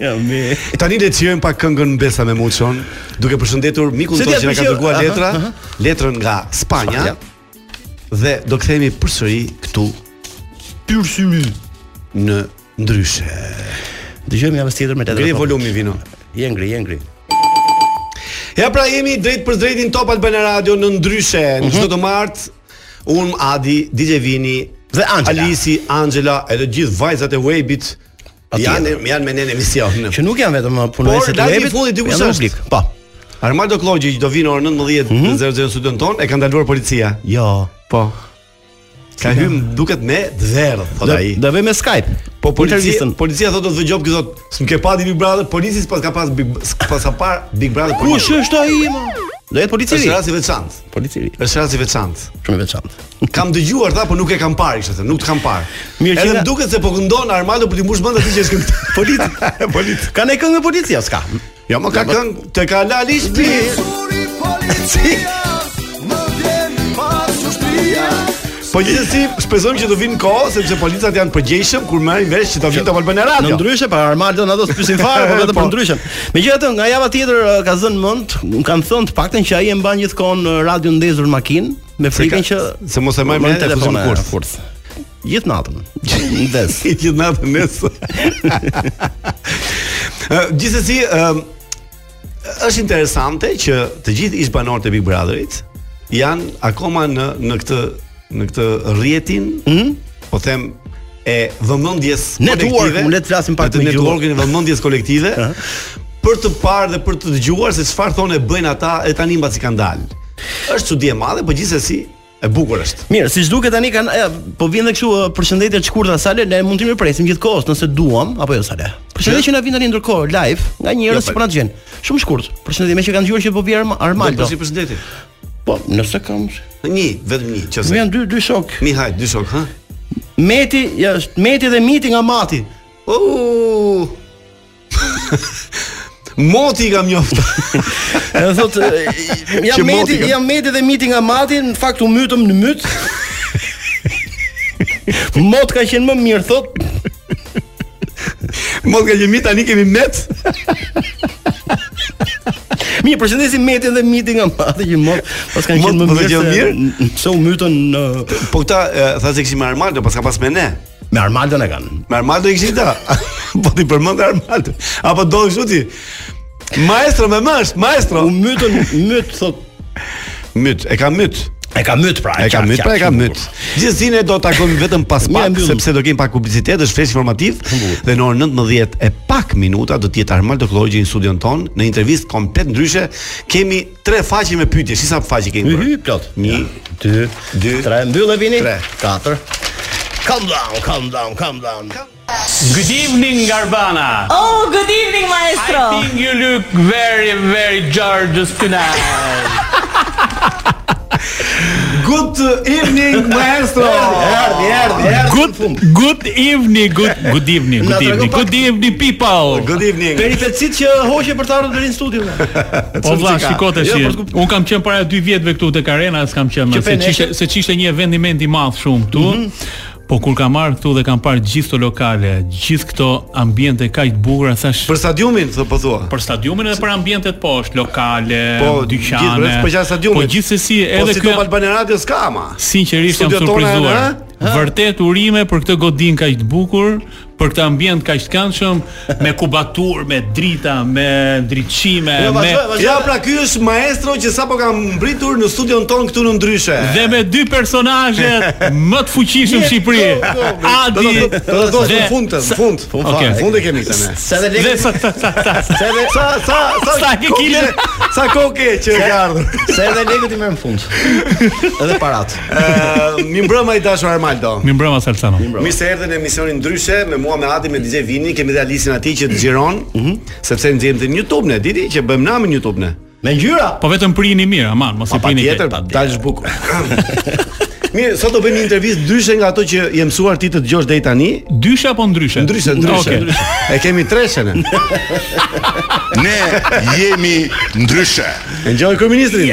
F: Ja me.
E: Tani le të shijojmë pak këngën Besa me Muçon, duke përshëndetur mikun
F: Se
E: tonë që
F: t'ja
E: na ka
F: përqeu-
E: dërguar
F: aha,
E: letra,
F: aha.
E: letrën nga Spanja.
F: Spanja.
E: Dhe do kthehemi përsëri këtu pyrsëri në ndryshe.
F: Dëgjojmë javës tjetër me letra.
E: Ngri
F: tonë.
E: volumi vino.
F: Je ngri, je ngri.
E: Ja pra jemi drejt për drejtin Top Albana Radio në ndryshe Në
F: Mhm.
E: çdo të martë Unë, Adi, DJ Vini
F: Dhe Angela.
E: Alisi, Angela Edhe gjithë vajzat e Webit
F: Atje.
E: Janë, janë me ne në emision
F: Që nuk janë vetëm uh,
E: Por,
F: punojësit e
E: lajmi i
F: webit,
E: fundit diku
F: janë në
E: s'është.
F: publik. Po.
E: Armando Klogji që do vinë orë 19
F: Mhm.
E: mm -hmm. 00 studion ton E kanë daluar policia
F: Jo.
E: Po Ka hymë duket me dherë Thot ai
F: Do bëj me Skype.
E: Po policia,
F: Intervistën.
E: policia thotë do të dëgjoj këtë thotë s'm ke pati Big Brother, policia s'pas ka pas Big s'pas ka par Big Brother. po
F: Kush është ai më? Do jetë
E: Është
F: policiri.
E: rasti veçantë.
F: Policiri.
E: Është rasti veçantë.
F: Shumë i veçantë.
E: Kam dëgjuar tha, por nuk e kam parë kështu, nuk të kam parë.
F: Mirë që
E: Edhe
F: nga-
E: më duket se po këndon Armando për të mbush mend atë që *laughs* është këngë. Polit, polit.
F: Ka ne këngë policia s'ka?
E: Jo, Po më ka këngë te ka lali shtëpi. Po gjithsesi, shpresojmë që do vinë kohë sepse policat janë përgjegjshëm kur marrin vesh që do vinë Top Albana
F: Në
E: Radio.
F: ndryshe para Armaldon ato s'pyesin fare, por vetëm
E: *laughs* Po.
F: për ndryshën. Megjithatë, nga java tjetër uh, ka zënë mend, më kanë thënë të paktën që ai e mban gjithkohon uh, radio ndezur në makinë, me frikën
E: ka-
F: që
E: se mos e marrë
F: me
E: mend telefon
F: telefona
E: kurth.
F: Gjithë natën.
E: *laughs*
F: Ndes.
E: I gjithë natën nesër. *laughs* Ë, Gjithsesi, ë, është interesante që të gjithë ish banorët e Big Brotherit janë akoma në në këtë në këtë rrjetin,
F: Mhm.
E: po them e vëmendjes
F: Network,
E: kolektive.
F: mu le të flasim pak
E: në të
F: me gjuhë.
E: networkin e vëmendjes kolektive
F: *laughs* Ëh.
E: për të parë dhe për të dëgjuar se çfarë thonë e bëjnë ata e tani mbasi kanë dalë. Është çudi e madhe, por gjithsesi e bukur është.
F: Mirë, siç duket tani kanë e, po vjen edhe kështu e, përshëndetje të shkurtra sale, ne mund të më presim gjithkohës nëse duam apo jo sale. Përshëndetje që na vin tani ndërkohë live nga
E: Jo,
F: njerëz
E: po-
F: që po na dëgjojnë. Shumë shkurt. Përshëndetje me që kanë dëgjuar që po vi Arma- Armaldo.
E: si përshëndetje.
F: Po, nëse kam.
E: Një, vetëm një,
F: Më
E: qëse.
F: janë dy dy shok.
E: Mihaj, dy shok, ha?
F: Meti, ja, është Meti dhe Miti nga Mati.
E: Uh. Moti i kam njoftë. *laughs*
F: Edhe thot *laughs* e,
E: Që
F: jam
E: moti
F: Meti,
E: ka-
F: jam Meti dhe Miti nga Mati, në fakt u mytëm në *laughs* myt. Mot ka qenë më mirë thot.
E: Mot nga gjemi tani kemi met.
F: Mirë, përshëndesim Metin dhe Miti nga Mati që mot pas kanë
E: Mot
F: qenë më
E: po dhe
F: mirë.
E: qenë
F: se-
E: mirë?
F: n- Se u mytën në
E: Po këta e, tha se kishim Armando, pas ka pas me ne.
F: me Armaldën e kanë.
E: Me Armando i kishin ta. *laughs* po ti përmend Armando. Apo do kështu ti. Maestro me mësh, maestro.
F: U mytën myt thot.
E: Myt, e ka myt.
F: E ka myt pra.
E: E ka
F: qartë,
E: myt, pra e
F: qartë,
E: ka
F: shumë
E: myt.
F: bukur.
E: Gjithsesi ne do ta takojmë vetëm pas
F: Mirë,
E: pak
F: mbyllim.
E: sepse do kemi pak publicitet, është flesh informativ dhe në orën 19 e pak minuta do të jetë Armando Klogji në studion ton në intervistë komplet ndryshe. Kemi tre faqe me pyetje, si sa faqe kemi bërë?
F: Hyhy plot.
E: Një,
F: 2,
E: dy,
F: 3, mbyllë vini.
E: tre.
F: 4. Calm down, calm down, calm down.
I: Good evening Garbana.
J: Oh, good evening, maestro.
I: think you look very, very gorgeous tonight.
E: Good evening maestro.
F: Erdhi, erdhi, erdhi.
K: Good good evening, good good evening,
F: Na
K: good
F: trego
K: evening.
F: pak-
K: Good evening people.
E: Good evening.
F: Peripecit që hoqe për të ardhur deri në studio.
K: Po vlla,
E: ka?
K: shiko tash.
F: Jo, po s'ku-
K: Un kam qenë para 2 vjetëve këtu tek Arena, s'kam qenë
F: Që
K: më, se
F: peneshë?
K: çishte se çishte një vendiment i madh shumë këtu.
E: Mhm.
K: Po kur kam marrë këtu dhe kam parë gjithë këto lokale, gjithë këto ambiente kaq të bukura, thash
E: Për stadiumin thë po thua.
K: për stadiumin edhe për ambientet poshtë, lokale,
E: Po, gjithë
K: dyqane.
E: rreth për gjatë stadiumit.
K: Po gjithsesi
E: Po
K: edhe
E: si
K: ky
E: Top Albania Radio s'ka ama.
K: sinqerisht jam
E: Studiot tona janë,
K: surprizuar. Vërtet urime për këtë godin kaq të bukur, për këtë ambient kaq të
E: *laughs*
K: këndshëm, me kubatur, me drita, me ndriçime,
F: Jo,
K: me
F: vazhdoj,
E: Ja pra ky është maestro që sapo ka mbritur në studion ton këtu në ndryshe.
K: dhe me dy personazhet më të
E: *laughs*
K: fuqishëm në Shqipëri.
E: Jo, Do
K: Adi
E: të do të thosh në
K: dhe-
E: fund, në fund, në fund,
K: Okej.
E: në fund e kemi këtë ne.
F: Sa dhe
K: Dhe
F: lekë,
K: sa sa sa sa. sa-
E: Sa sa sa
K: Sa ke
E: koke-
K: kile?
E: Sa koke që e
K: *laughs*
E: ka ardhur.
F: sa dhe lekët i merr në fund. Edhe parat.
E: Ë, Mi mbrëma i dashur Armaldo.
K: Mi mbrëma Salsano.
E: Mirë se erdhe në emisionin ndryshe me mua me Adi me DJ Vini, kemi dhe Alisin aty që të xhiron,
G: Mhm.
E: sepse nxjerrim te në YouTube ne, diti që bëjmë namin në YouTube ne.
F: Me ngjyra.
K: Po vetëm prini mirë, aman, mos e
E: Pa
K: prini. keq.
E: patjetër, dalësh bukur. *laughs* Mirë, sot do bëjmë një intervistë ndryshe nga ato që je mësuar ti të dëgjosh deri tani.
K: Dyshe apo ndryshe?
E: Ndryshe, ndryshe.
K: Okej.
E: E kemi treshen. e.
G: *laughs* Ne jemi ndryshe.
E: E ngjoj kryeministrin.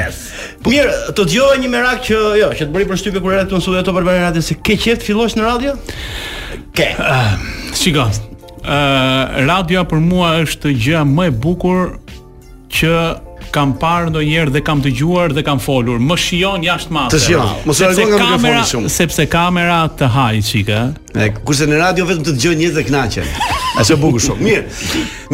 F: Mirë, të dëgjova një merak që jo, që të bëri për shtypje kur erdhi këtu në studio Top Albania Radio se ke qejf të fillosh në radio? Ke.
K: Shiko, ë radioja për mua është gjëja më e bukur që kam parë ndonjëherë dhe kam dëgjuar dhe kam folur. Më shijon jashtë mase.
E: Të shijon, mos u
K: Sepse
E: largon nga mikrofoni
K: kamera-
E: shumë.
K: Sepse kamera të haj çika.
E: E, kurse në radio vetëm të dëgjojnë njerëz dhe kënaqen. Është e bukur shumë. Mirë.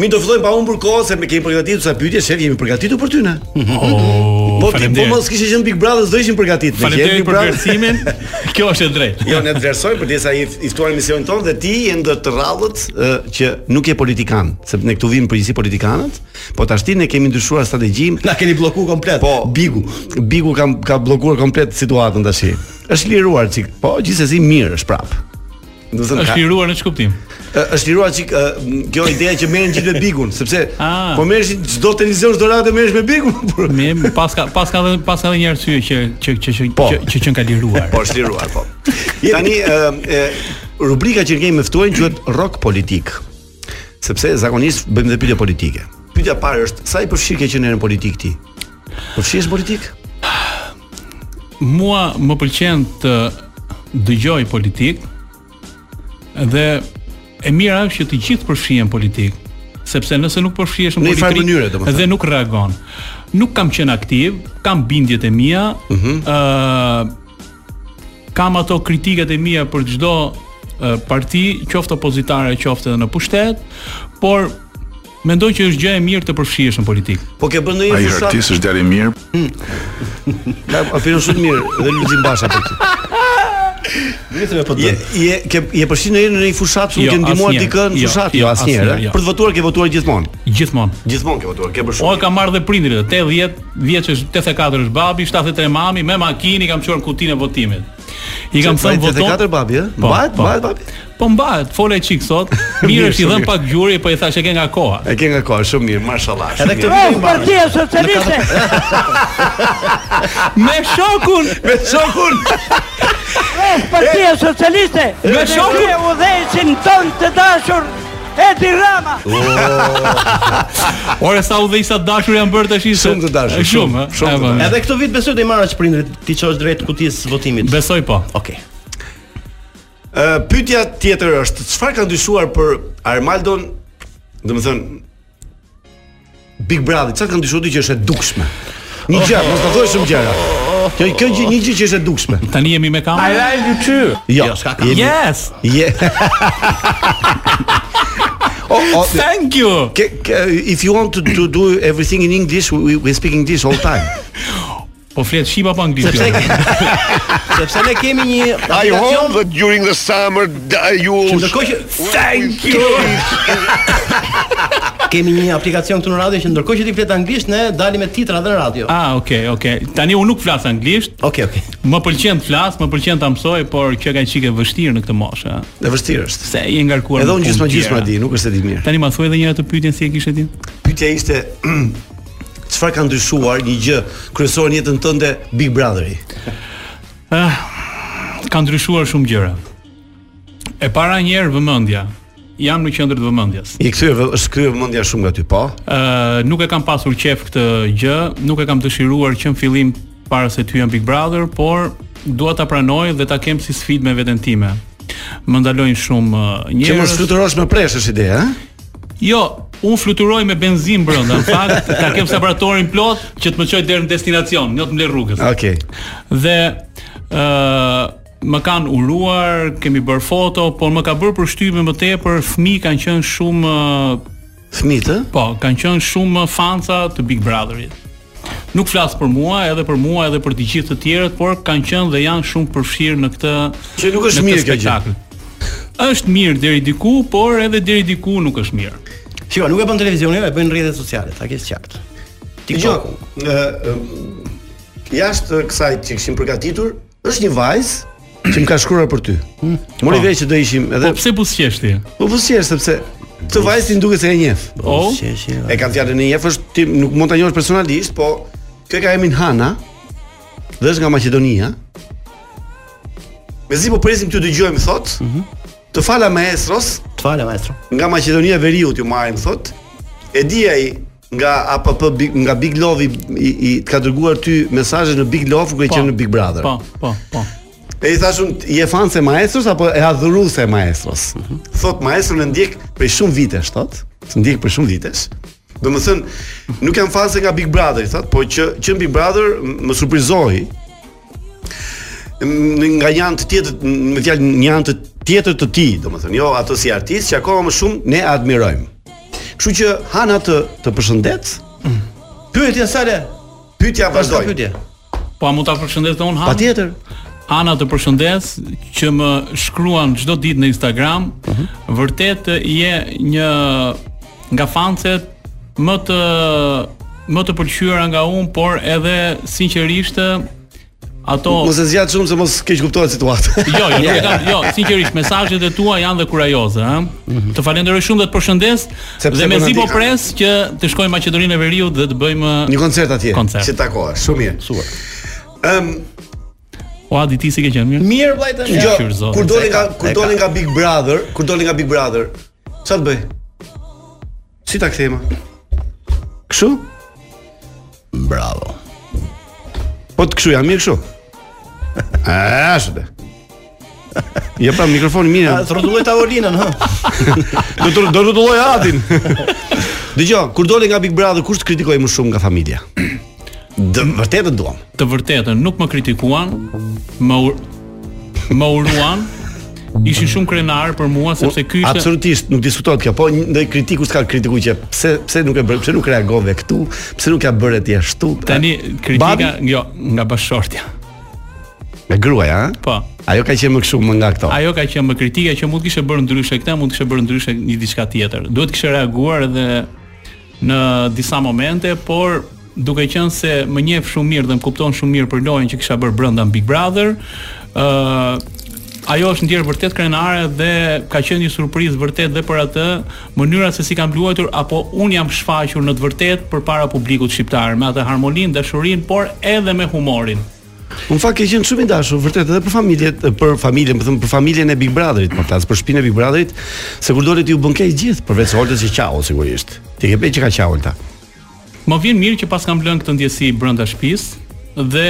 E: Mi do fillojmë pa humbur kohë se me kemi përgatitur sa pyetje, shef, jemi përgatitur për ty ne.
K: Oh,
E: Po ti po mos kishe qenë Big Brother, s'do ishim përgatitur. Ne jemi
K: Faleminderit
E: Big
K: për
E: Brother.
K: vlerësimin. Kjo është e drejtë.
E: pra. *laughs* Jo, ne të vlerësojmë përderisa i i ftuar në misionin tonë dhe ti je ndër të rrallët ë, që nuk je politikan, sepse ne këtu vim përgjithësi politikanët, po tash ti ne kemi ndryshuar strategjinë.
F: Na keni blloku komplet.
E: Po, Bigu, Bigu ka ka bllokuar komplet situatën tash. Është liruar çik, po gjithsesi mirë është prap. Do të thënë ka-
K: Është liruar në çkuptim.
E: Ë, është liruar çik ë, m, kjo ideja që merren gjithë me Bigun, sepse
K: Ah.
E: po merresh çdo televizion, çdo radio merresh me Bigun. *laughs* po, por-
K: Me pas ka pas ka dhe- pas ka dhe një arsye që që që që
E: Po.
K: që, që, që ka liruar.
E: Po është liruar, po. Tani ë e, rubrika që kemi me ftuajin quhet rock politik. Sepse zakonisht bëjmë dhe pyetje politike. Pyetja e parë është sa i përfshirë ke qenë në politik ti? Përfshihesh politik?
K: mua më pëlqen të dëgjoj politik dhe e mira është që të gjithë përfshihen politik, sepse nëse nuk përfshihesh
E: Në
K: në
E: një farë
K: politik
E: mënyre, domethënë.
K: dhe nuk reagon. Nuk kam qenë aktiv, kam bindjet e mia, ë
E: Mhm.
K: kam ato kritikat e mia për çdo ë, parti, qoftë opozitare, qoftë edhe në pushtet, por mendoj që është gjë e mirë të përfshihesh në politik.
E: Po ke bën
G: Ai
E: ndonjë fushat?
G: artist është djalë i mirë.
E: Ka opinon shumë mirë dhe Lulzim Basha për këtë.
F: Vetëm po
E: Je
F: të.
E: je ke je përfshirë në një- në një fushat shumë
K: Jo,
E: që ndihmuar
K: asnjëherë.
E: dikën
K: Jo,
E: fushat?
K: jo,
E: Jo, asnjëherë.
K: asnjëherë, jo.
E: Për të votuar ke votuar gjithmonë.
K: Gjithmonë.
E: Gjithmonë ke votuar, ke bërë
K: O
E: shumë.
K: e kam marrë dhe prindrit, 80, vjeç është 84 është babi, 73 mami, me makinë i kam çuar kutinë e votimit. I kam thënë voton.
E: 84 babi, ë?
K: Po,
E: Mbahet,
K: po.
E: mbahet babi.
K: Po mbahet, fola e çik sot. Mirë është i dhën pak gjuri, po i thash e ke nga koha.
E: E ke nga kohë, shumë mirë, mashallah.
F: Edhe
E: shumë
F: këtë
E: mirë.
F: vit i mbarë.
H: Partia Socialiste
K: Me shokun,
E: *laughs* me shokun.
H: Partia Socialiste
K: me shokun.
H: E u dhejqin ton të dashur Edi Rama
K: Ore sa u dhe isa dashur janë bërë tash ishte.
E: Shumë të dashur,
K: E, Shumë,
E: shumë,
K: ë?
E: shumë
K: E,
E: të
K: po,
E: dashur.
K: Edhe
F: Edhe këtë vit besoj të i marrësh prindrit, ti çosh drejt kutisë votimit.
K: besoj po.
F: Okej.
E: Ë, pyetja tjetër është çfarë ka ndryshuar për Armaldon, domethënë Big Brother, çfarë ka ndryshuar ti që është e dukshme? Një gjë, mos ta thuaj shumë gjëra. Kjo kjo gjë, një gjë që është e dukshme.
K: Tani jemi me kamerë.
I: like you too.
E: Jo,
F: Jo, s'ka kam.
E: jemi-
K: Yes.
E: *laughs* Je. Oh, oh,
K: Thank you.
E: ke, ke, if you want to, to do everything in English, we, we speak English all time.
K: Po flet shqip apo anglisht?
F: Sepse *laughs*
K: jo?
F: sepse ne kemi një
G: I hope
F: aplikacion
G: that during the summer da- you
F: që ndërkohë që
G: Thank you.
F: *laughs* kemi një aplikacion këtu në radio që ndërkohë që ti flet anglisht, ne dalim me titra dhe në radio.
K: Ah, okay, okay. Tani unë nuk flas anglisht,
F: Okej, okej.
K: Më pëlqen të flas, më pëlqen ta mësoj, por kjo ka qikë e vështirë në këtë moshë, ëh.
E: E vështirë është.
K: Se je ngarkuar.
E: Edhe
K: në
E: unë
K: punë
E: gjysma
K: tjera.
E: gjysma di, nuk është e di mirë.
K: Tani ma thuaj edhe një herë të pyetjen si e kishe ti?
E: pyetja ishte *clears throat* çfarë ka ndryshuar një gjë kryesore në jetën tënde Big Brotheri?
K: Ah, ka ndryshuar shumë gjëra. E para një herë vëmendja. Jam në qendër të vëmendjes.
E: I kthyer vë- është kthyer mendja shumë nga ty, po.
K: Ë nuk e kam pasur qef këtë gjë, nuk e kam dëshiruar që në fillim para se ty jam Big Brother, por dua ta pranoj dhe ta kem si sfidë me veten time. Më ndalojnë shumë ë,
E: Që mos
K: njerëz.
E: fluturosh me presh është eh? ide, ha?
K: Jo, un fluturoj me benzinë brenda, në fakt ta kem separatorin plot që të më çoj deri në destinacion, jo të më lë rrugës.
E: Okej.
K: Dhe ë më kanë uruar, kemi bërë foto, por më ka bërë përshtypje më tepër fëmijë kanë qenë shumë ë,
E: Fëmijët, eh? ë?
K: Po, kanë qenë shumë fanca të Big Brotherit. Nuk flas për mua, edhe për mua, edhe për të gjithë të tjerët, por kanë qenë dhe janë shumë përfshirë në këtë
E: Që nuk është
K: në këtë
E: mirë kjo gjë.
K: spektakl. Është mirë deri diku, por edhe deri diku nuk është mirë.
F: Shiko, nuk e bën televizioni, e bën rrjetet sociale, ta ke qartë.
E: TikToku. Ë ë, jashtë kësaj që kishim përgatitur, është një vajzë që më ka shkruar për ty. Mori
K: Po.
E: veç që do ishim edhe
K: Po pse buzqesh ti?
E: Po buzqesh sepse të vajzë ti duket se e njeh.
F: Oh.
K: O?
E: Oh. E kam fjalën e njeh, është ti nuk mund ta njohësh personalisht, po kjo ka emrin Hana. Dhe është nga Maqedonia. Mezi po presim ty dëgjojmë thot. Të fala maestros,
F: Të falë maestro.
E: nga Maqedonia e Veriut ju marrim thot. E di ai nga APP Big- nga Big Love i, i, i të ka dërguar ty mesazhe në Big Love ku e
K: Po,
E: qenë në Big Brother.
K: Po, po, po.
E: E i thashun, je fan se maestros apo e adhuru se maestros? Thot maestro në ndjek prej shumë vitesh, thot. Të ndjek prej shumë vitesh. Do më thënë, nuk jam fan se nga Big Brother, thot, po që, që në Big Brother m- më surprizoi m- nga një anë të tjetër, m- me fjalë një anë të tjetër të ti, do më thënë, jo ato si artist, që akoma më shumë ne admirojmë. Kështu që Hana të, të përshëndet,
F: Pyetja sale.
E: pyetja
F: Vazhdo
E: vazhdoj.
F: pyetje.
K: Po a mund ta përshëndes unë Han?
E: Patjetër.
K: Ana të përshëndes që më shkruan çdo ditë në Instagram.
E: Mhm.
K: Vërtet e, je një nga fancet më të më të pëlqyera nga unë, por edhe sinqerisht e, ato
E: Mos e zgjat shumë se mos keq kuptohet situata.
K: *laughs*
E: *laughs*
K: Jo, jo, nuk e kam, jo, sinqerisht mesazhet e tua janë dhe kurajoze, ëh. Të falenderoj shumë dhe të përshëndes
E: Mhm. Sepse
K: dhe me
E: po na
K: zi po
E: di-
K: pres që të shkojmë në Maqedoninë e Veriut dhe të bëjmë
E: Një koncert atje,
K: Koncert.
E: si takohesh, shumë mirë.
F: Super.
E: Ëm,
K: O Adi ti si ke qenë mirë?
F: Mirë vllajtë.
E: Jo,
K: Shqyrë, zot.
E: kur doli nga kur
F: e
E: doli nga Big Brother, kur doli nga Big Brother, ç'a të bëj? Si ta kthejmë? Kështu?
F: Bravo.
E: Po të kështu, jam mirë
F: *laughs*
E: kështu. A, ashtu be. Ja pra mikrofoni mirë.
F: A Rrotulloj tavolinën, hë.
E: Do të do të lloj
F: *laughs*
E: atin. Dgjoj, kur doli nga Big Brother, kush të kritikoi më shumë nga familja? Dë, vërtet e duam.
K: të vërtetën nuk më kritikuan, më ur, më uruan. Ishin shumë krenar për mua sepse ky ishte
E: Absolutisht nuk diskutohet kjo, po një ndaj kritiku s'ka kritikuar që pse pse nuk e bën, pse nuk reagove këtu, pse nuk ja bëre ti ashtu.
K: tani
E: Babi?
K: kritika jo nga bashortja.
E: Me gruaja, ha?
K: Po.
E: Ajo ka qenë më kështu më nga këto.
K: Ajo ka qenë më kritika që mund kishte bërë ndryshe këtë, mund kishte bërë ndryshe një diçka tjetër. Duhet kishte reaguar edhe në disa momente, por duke qenë se më njeh shumë mirë dhe më kupton shumë mirë për lojën që kisha bërë brenda në Big Brother, ë ajo është ndjerë vërtet krenare dhe ka qenë një surprizë vërtet dhe për atë mënyra se si kam luajtur apo un jam shfaqur në të vërtetë përpara publikut shqiptar me atë harmoninë, dashurinë, por edhe me humorin.
E: Në fakt ke qenë shumë i dashur, vërtet edhe për familjet, për familjen, po them për familjen e Big Brotherit, po flas për shtëpinë e Big Brotherit, se kur doli ti u bën keq gjithë, përveç Holtës që qau sigurisht. Ti ke bërë që ka qau Holta.
K: Më vjen mirë që pas kam lënë këtë ndjesi brenda shtëpisë dhe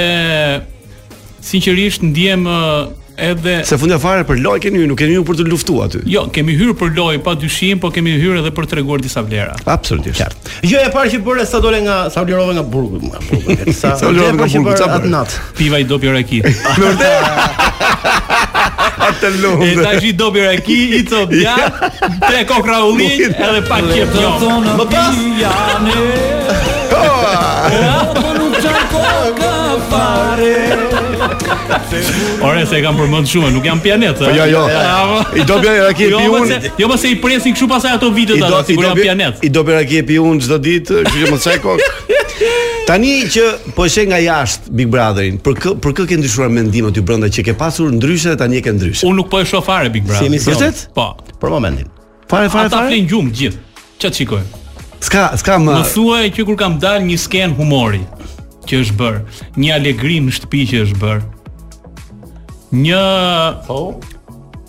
K: sinqerisht ndjem ë, edhe
E: Se fundja fare për loj keni ju, nuk keni ju për të luftuar aty.
K: jo, kemi hyrë për lojë pa dyshim, po kemi hyrë edhe për treguar disa vlera.
E: Absolutisht.
F: Qartë. Gjëja Jo, e parë që bëre sa dole nga sa ulirove nga burgu, nga burgu. vetë, Sa
E: Sa ulirove
F: gjëja e
E: nga
F: parë që
E: burgu,
F: bëre
E: çfarë
F: atë
E: bëre?
F: natë.
K: Piva i dopi
E: *laughs*
K: raki.
E: Atë
K: E tash i dopi raki, i cop djath, tre kokra ullinj, edhe pak qep jo.
F: Më pas
K: Ore se e kam përmend shumë, nuk jam pianet. Po
E: jo, jo. I dopi raki e
K: jo,
E: piun.
K: mose- Jo, mos i presin kështu pasaj ato
E: I
K: videot
E: do
K: atë,
E: i
K: sigur
E: do
K: jam pianet.
E: i do bera kjepi unë çdo ditë, kështu që mos çaj
K: *laughs*
E: kokë. Tani që po sheh nga jashtë Big Brotherin, për kë për kë ke ndryshuar mendimet ty brenda që ke pasur ndryshe dhe tani e ke ndryshe.
K: Unë nuk po e shoh fare Big Brother.
F: emision.
K: Po.
F: për momentin.
E: Fare fare
K: Ata
E: fare.
K: flenë gjumë gjithë. Ç'a të shikojnë?
E: S'ka s'ka më
K: Më thuaj që kur kam dalë një sken humori që është bër, një alegri në shtëpi që është bër. Një po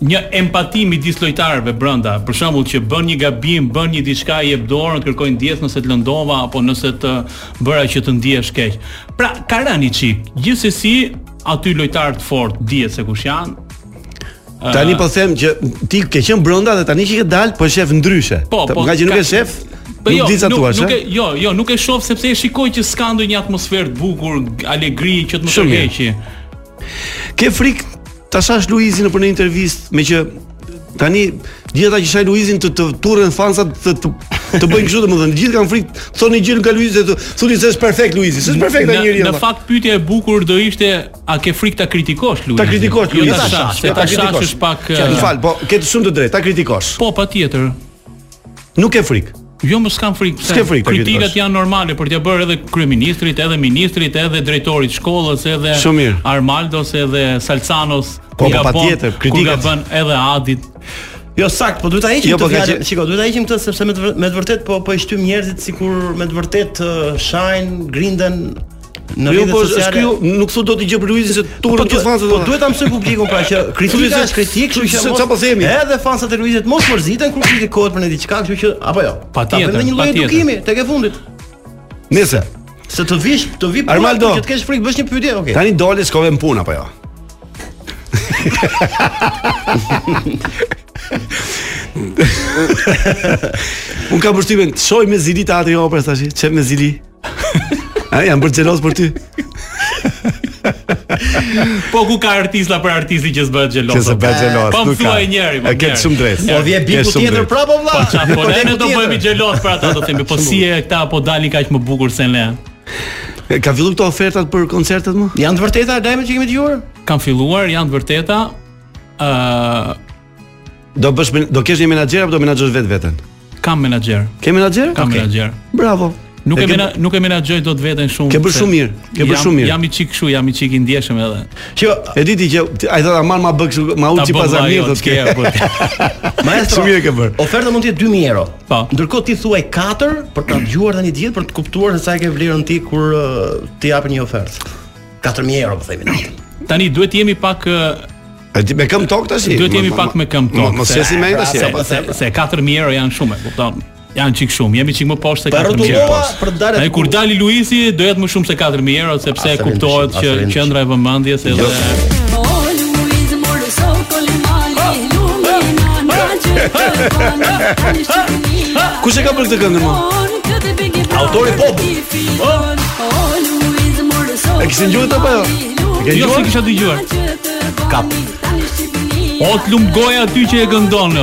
K: një empati midis lojtarëve brenda. Për shembull që bën një gabim, bën një diçka i jep dorën, kërkojnë ndjes nëse të lëndova apo nëse të bëra që të ndihesh keq. Pra ka rënë një çik. Gjithsesi aty lojtarë të fortë dihet se kush janë.
E: Tani
K: Ë,
E: po them që ti ke qenë brenda dhe tani që ke dal po shef ndryshe.
K: Po, po.
E: nga që nuk e
K: ka-
E: shef,
K: Po
E: nuk di sa
K: nuk,
E: thua,
K: nuk e,
E: ë?
K: jo, jo, nuk e shoh sepse e shikoj që s'ka ndonjë atmosferë të bukur, alegri që të më
E: Shumë mirë.
K: tërheqi.
E: Ke frikë ta shash Luizin në për në intervistë me që tani gjithë ata që shaj Luizin të të turren fansat të të, të bëjnë kështu domethënë gjithë kanë frikë thonë një gjë nga Luizi dhe të thonë se është perfekt Luizi, s'është perfekt ai
K: Në-
E: njeriu.
K: Në fakt pyetja e bukur do ishte a ke frikë ta kritikosh Luizin?
E: ta kritikosh
K: Jo
E: Luizin.
K: ta shash, se ta shash është pak eh,
E: Qa, Më fal, po ke të shumë të drejtë, ta kritikosh.
K: Po patjetër.
E: Nuk ke frikë.
K: Jo mos kam frikë. pse?
E: S'ke frikë ta
K: Kritikat
E: kritikosh.
K: janë normale për t'ia bërë edhe kryeministrit, edhe ministrit, edhe drejtorit të shkollës, edhe
E: Shumë mirë.
K: Armaldos, edhe Salcanos.
E: Po, po,
K: kur gabon-
E: patjetër,
K: kur
E: kritikat-
K: gabon edhe Adit.
F: Jo sakt, po duhet ta heqim
E: Jo, po
F: këtë
E: ka
F: fjalë.
E: që-
F: Shiko, duhet ta heqim këtë sepse me të, vër- me të vërtet po po i shtym njerëzit sikur me të vërtet uh, shajn, grinden në
E: Jo,
F: rrjetet
E: po është
F: sociale.
E: kjo, nuk thu do t'i gjë për Luizin se turrën
F: duhet-
E: gjithë fansat.
F: po duhet ta mësoj publikun pra që
E: *laughs*
F: kritika
E: Thuaj se-
F: është kritik, kështu që
E: se
F: mos-
E: çfarë po themi?
F: Edhe fansat e Luizit mos mërziten kur kritikohet për një diçka, kështu që apo jo.
K: Patjetër,
F: prindë një lloj
K: patjetër.
F: edukimi tek e fundit.
E: Nëse
F: Se të vish, të vi punë,
E: Armaldo.
F: që të kesh frikë bësh një pyetje, okay.
E: tani dole shkove në punë apo jo? Unë kam përshtypjen, të shoj me zili të atë jo opres tash, çe me zili. A jam bërë xhelos *laughs* për ty.
K: Po ku ka artista për artisti që s'bëhet xhelos.
E: Që se bëhet xhelos,
K: Po më
E: nuk ka.
K: thuaj njëri, më
E: E ke shumë drejt.
F: Po vje biku
E: shumë
F: tjetër
E: drejt.
F: prapë vlla.
K: Po çfarë po
F: Po,
K: ne
F: biku
K: do
F: tjetër.
K: bëhemi xhelos për ata do themi, po si e këta po dalin kaq më bukur se ne.
E: Ka filluar këto ofertat për koncertet më?
F: Janë të vërteta lajmet që kemi dëgjuar?
K: Kan filluar, janë të vërteta. ë
E: Do bësh men- do kesh një menaxher apo do menaxhosh vetë veten?
K: kam menaxher.
E: Ke menaxher?
K: Kam
E: Okej.
K: menaxher.
E: Bravo.
K: Nuk e
E: ke-
K: mena, nuk e menaxhoj dot veten shumë.
E: Ke bërë
K: se
E: shumë mirë, ke bërë
K: jam-
E: shumë mirë.
K: Jam i çik kështu, jam i çik i ndjeshëm edhe.
F: Shiko,
E: E diti që ai thotë aman ma bë kështu, ma
K: Ta
E: uçi
K: bëm
E: pazarmir
K: ajo,
E: thotë
K: t'ke,
E: ke.
K: po.
E: *laughs*
F: Maestro.
E: Shumë mirë ke bërë.
F: Oferta mund të jetë 2000 euro.
K: Po.
F: Ndërkohë ti thuaj 4 për ta dëgjuar tani gjithë për të kuptuar se sa e ke vlerën ti kur uh, ti japin një ofertë. 4000 euro po themi ne.
K: Tani duhet të jemi pak ë,
E: E ti me këm tok tash?
K: duhet të jemi
E: Ma-
K: pak
E: ma-
K: me këmbë
E: ma-
K: tokë.
E: Mos
K: se- Pra,
E: jesi me tash.
K: se-
E: apo?
K: se se 4000 euro janë shumë, e kupton? Janë çik shumë, jemi çik më poshtë se
F: Pa
K: 4000 euro.
F: rrotullova për të dalë.
K: Ai kur dali Luisi do jetë më shumë se 4000 euro sepse
F: Asë
K: kuptohet
F: rëndësishëm,
K: që
F: asë rëndësishëm.
K: qendra e vëmendjes
E: Jo.
K: edhe
E: Kush e ka bërë këtë këngë më?
J: Autori Pop.
E: E kishin gjuhët apo jo? E ke
K: Jo,
E: gjuhët?
K: si kisha dëgjuar.
J: Kap.
K: o të lumë goja aty që e këndon.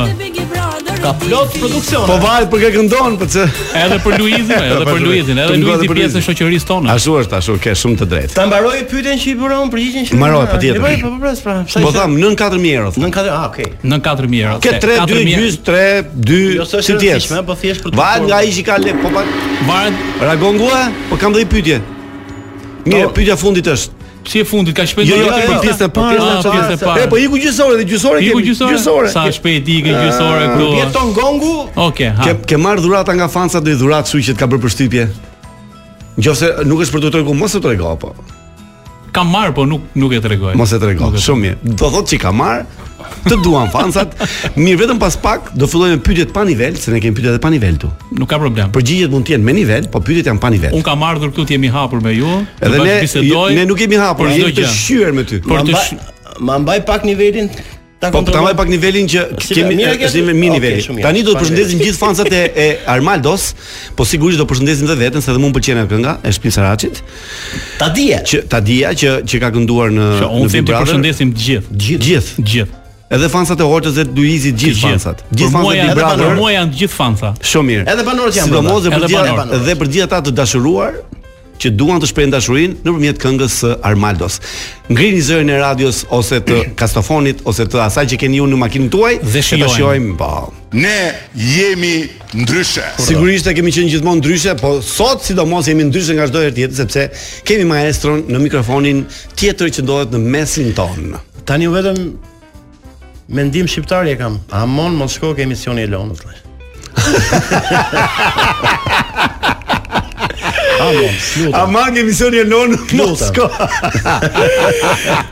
J: Ka plot
F: produksion.
E: Po varet për kë këndon, po çe.
K: Edhe për Luizin, edhe për Luizin, edhe
E: Të
K: Luizi
E: ngode për
K: pjesë e
E: Luizin.
K: shoqërisë tonë.
E: Ashtu është, ashtu ke shumë të drejtë.
F: Ta mbaroj pyetjen që i bëra unë përgjigjen që.
E: Mbaroj,
F: po
E: patjetër.
F: Po po pres pra. Sa
E: Po tham nën 4000 euro. tham.
F: 94, ah, okay.
K: Në 4000 euro.
E: Ke
K: se
E: 3 2
K: 4000
E: gjys 3 2
F: Jo, s'është
E: si ti je.
F: rëndësishme, po thjesht për të
E: Varet nga
F: kuptuar.
E: ai që ka le, po pa
K: Varet
E: Ragon gua, po kam dhe i pyetje. Mirë,
F: Po.
E: pyetja fundit është.
K: si e fundit ka shpejt.
E: Jo,
K: do
E: jo,
K: jetë
E: për
K: për-
E: pjesën e parë,
K: Ah,
E: pjesën
K: pjesën e parë.
E: E po iku gjysore dhe gjysore
K: Iku
E: kemi.
K: gjysore? Sa
E: Ke- Ah.
K: shpejt ikë gjysore
F: Jeton
K: këtu.
F: gongu.
K: Okej, ha.
E: Ke ke marr dhurata nga fansa do i dhurat kështu që të ka bërë përshtypje. Nëse nuk është për të treguar, mos e trego apo.
K: Kam marr, po nuk nuk e tregoj.
E: Mos e trego. Shumë mirë. Do thotë që ka marr, të duan
K: *laughs*
E: fansat. Mirë, vetëm pas pak do fillojmë me pyetjet pa nivel, se ne kemi pyetjet e pa nivel tu.
K: Nuk ka problem.
E: Përgjigjet mund të jenë me nivel, po pyetjet janë pa nivel.
K: Un kam ardhur këtu të jemi hapur me ju, të
E: Edhe ne
K: bashkë bisedoj.
E: ne nuk jemi hapur,
K: për çdo
E: jemi të
K: gjë.
E: shyer me ty.
K: Për
F: Ma
K: të
F: mbaj-
K: sh-
F: Ma mbaj pak nivelin. Ta
E: Po ta
F: kontrolloj.
E: mbaj pak nivelin që
F: Si
E: kemi
F: mirë ke-
E: është me mini
F: Okej,
E: niveli.
F: shumë mirë.
E: Tani do të përshëndesim
F: Faleminderit.
E: gjithë fansat e, e Armaldos, po sigurisht do përshëndesim edhe veten se edhe mua më pëlqen ajo kënga e Shpin Saracit,
F: Ta dije.
E: që ta dija që që ka kënduar në
K: Që
E: në
K: unë
E: Big
K: them të
E: Brother.
K: përshëndesim të gjithë.
E: Gjithë. Gjithë.
K: Gjithë.
E: Edhe fansat e Hortës dhe Luizit, gjithë fansat. Gjithë
K: Për mua
E: fansat e
K: janë-
E: Big
K: Për
E: Brother.
K: mua janë të gjithë fansa.
E: Shumë mirë.
F: Edhe banorët janë
E: Sidomos dhe
F: brenda.
E: për
K: Edhe
E: gjithë
F: banorët.
E: dhe për gjithë ata të dashuruar që duan të shprejnë dashurinë nëpërmjet këngës së Armaldos. Ngrini zërin e radios ose të
K: *clears throat*
E: kastofonit ose të asaj që keni ju në makinën tuaj
K: Dhe
E: e ta
K: shijojmë.
E: shijojmë po.
G: Ne jemi ndryshe.
E: Sigurisht e kemi qenë gjithmonë ndryshe, po sot sidomos jemi ndryshe nga çdo herë tjetër sepse kemi maestron në mikrofonin tjetër që ndodhet në mesin ton.
F: Tani u vetëm mendim *laughs* shqiptar e kam. Amon mos shko ke emisioni i Elonës. vllai. Tamam, lutem.
E: Aman një mision e lonë *laughs* në
F: Lutem.
E: Mosko.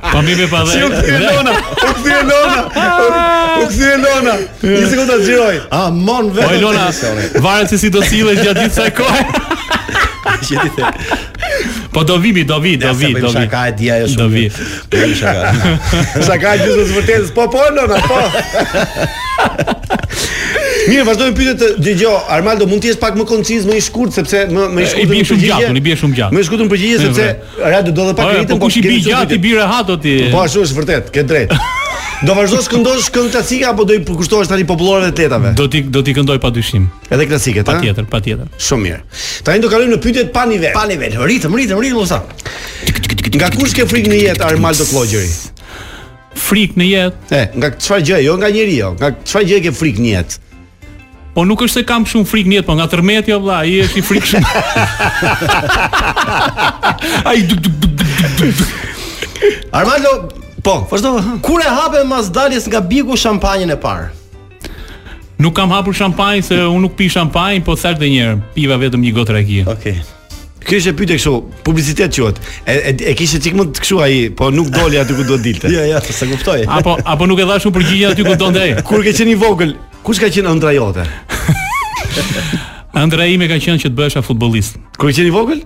K: Pa mbi Po pa
E: Si u kthye
K: dhe.
E: lona? U kthye lona. u- U kthye lona. Një sekondë ta xhiroj.
F: A mon vetë.
K: O Po, Elona, varet se si do sillesh gjatë gjithë kësaj kohe.
F: *laughs* që ti the.
K: Po do vi, mi, do vi, do
F: Ja,
K: vi,
F: se
K: do
F: bëjmë
K: vi.
F: Shaka e dia ajo shumë.
K: Do vi.
F: mirë. Po, Bëjmë shaka. *laughs*
E: Sa ka gjysmë të vërtetës. Po po lona, po. *laughs* Mirë, vazhdojmë pyetjet. e- Dëgjoj, Armaldo mund të jesh pak më konciz, më i shkurt sepse më më i
K: E, i
E: shkurtër.
K: bie
E: në
K: shumë
E: përgjigje.
K: gjatë, unë i bie shumë gjatë.
E: Më i shkurtër në përgjigje
K: E,
E: sepse radio do dhe pak
K: Po, e,
E: ritëm.
K: po kush i
E: kemi
K: bi
E: shumë
K: gjatë, i
E: pyetje.
K: bi rehat o ti.
E: Po ashtu është vërtet, ke
K: *laughs*
E: drejt. Do vazhdosh këndosh këngë klasike apo do i përkushtohesh tani popullore dhe tetave?
K: Do ti do ti këndoj pa dyshim.
E: Edhe klasiket, ha?
K: Patjetër, patjetër.
E: Shumë mirë. Tani do kalojmë në pyetjet pa nivel.
F: Pa nivel, ritëm, ritëm, ritëm usa.
E: Nga kush ke frikë në jetë Armaldo Klogjeri?
K: Frik në jetë,
E: E, nga çfarë gjë, jo nga njeriu, nga çfarë gjë ke frikë në jetë?
K: po nuk është se kam shumë frik në jetë, po nga tërmeti o vlla, ai është i
F: *laughs*
K: frikshëm. Ai duk duk duk duk, duk, duk.
F: Armando,
E: Po, vazhdo. ha.
F: kur e hape mas daljes nga biku shampanjen e parë?
K: Nuk kam hapur shampanjë se unë nuk pi shampanjë, po thash edhe një herë, piva vetëm një gotë rakie.
F: Okej.
E: Kjo ishte pyetje kështu, publicitet quhet. E, e, e kishte çik më të kështu ai, po nuk doli aty ku duhet *laughs* dilte.
F: Jo, jo, se kuptoj.
K: Apo apo nuk e dhash unë përgjigjen aty ku donte ai.
E: Kur ke qenë i vogël, kush ka qenë ëndra jote?
K: Ëndra ime ka qenë që të bëhesha futbollist,
E: Kur ke qenë i vogël?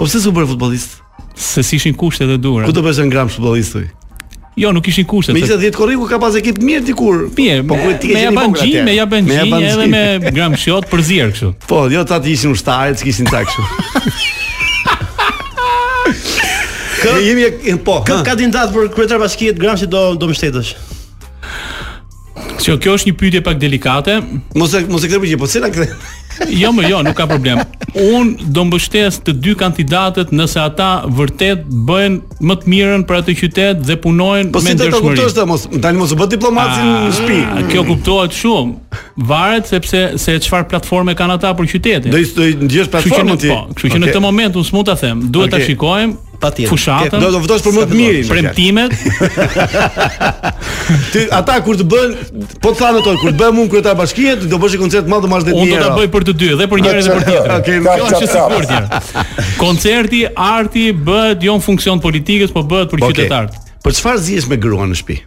E: Po pse s'u bërë futbollist?
K: se s'ishin kushtet e
E: Ku
K: duhura.
E: do bësh gram futbollist tu?
K: Jo, nuk ishin kushtet.
E: Me
K: se-
E: 20 korriku ka pas ekip mirë dikur.
K: Mirë,
E: po kur ti ke
K: me
E: qenë i
K: jaban
E: vogël
K: gjin,
E: atëherë?
K: me jaban gjin,
E: jaban
K: edhe
E: gjin.
K: me gram shot për zier kështu.
E: Po, jo ta të ishin ushtarë, të kishin ta kështu. *laughs* Kë jemi e- po.
F: Kë
E: ha.
F: kandidat për kryetar bashkie të Gramshit do do mbështetesh?
K: Kjo kjo është një pyetje pak delikate.
E: Mos e mos e kthej përgjigje, po se na kthe.
K: Jo, më jo, nuk ka problem. Unë do mbështes të dy kandidatët nëse ata vërtet bëjnë më të mirën për atë qytet dhe punojnë
E: Po
K: me
E: si do ta
K: ndershmëri.
E: kuptosh ta mos tani mos u bë diplomacin në shtëpi.
K: A, Kjo kuptohet shumë. Varet sepse se çfarë platforme kanë ata për qytetin.
E: Do i do i ndjesh
K: Kështu që në,
E: platformën ti.
K: po, kështu që në
E: Okej.
K: këtë moment unë s'mund ta them. Duhet ta
E: Okej.
K: shikojmë
F: Patjetër.
K: fushatën.
E: Do të vdosh për më të mirin. *laughs*
K: premtimet,
E: Ti ata kur të bën, po të thanë ato kur të bëhem unë kryetar bashkie, ti do bësh një koncert madh të marrësh 10
K: unë do ta
E: euro.
K: bëj për të dy, dhe për njërin dhe
E: *laughs*
K: për tjetrin.
E: Okej,
K: Kjo është e sigurt tjerë. Koncerti, arti bëhet jo në funksion politikës, po bëhet për
E: okej.
K: qytetarët.
E: Për çfarë zihesh me gruan në shtëpi?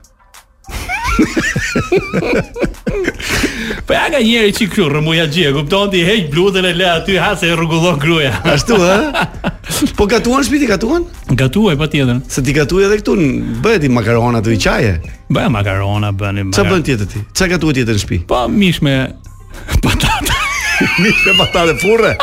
K: Po ja ka njëri çik këtu rëmuja gjë, kupton ti heq bluzën e le aty ha se rregullon gruaja. *laughs*
E: Ashtu ë? Po gatuan në shtëpi ti gatuan?
K: Gatuaj patjetër.
E: Se ti gatuaj edhe këtu, n- bëhet i makarona aty i çaje.
K: Bëj makarona, bëni.
E: Ç'a
K: makar-
E: bën tjetër ti? Ç'a gatuat tjetër në shtëpi?
K: *laughs* Po mish me patata.
E: Mish me patate furre.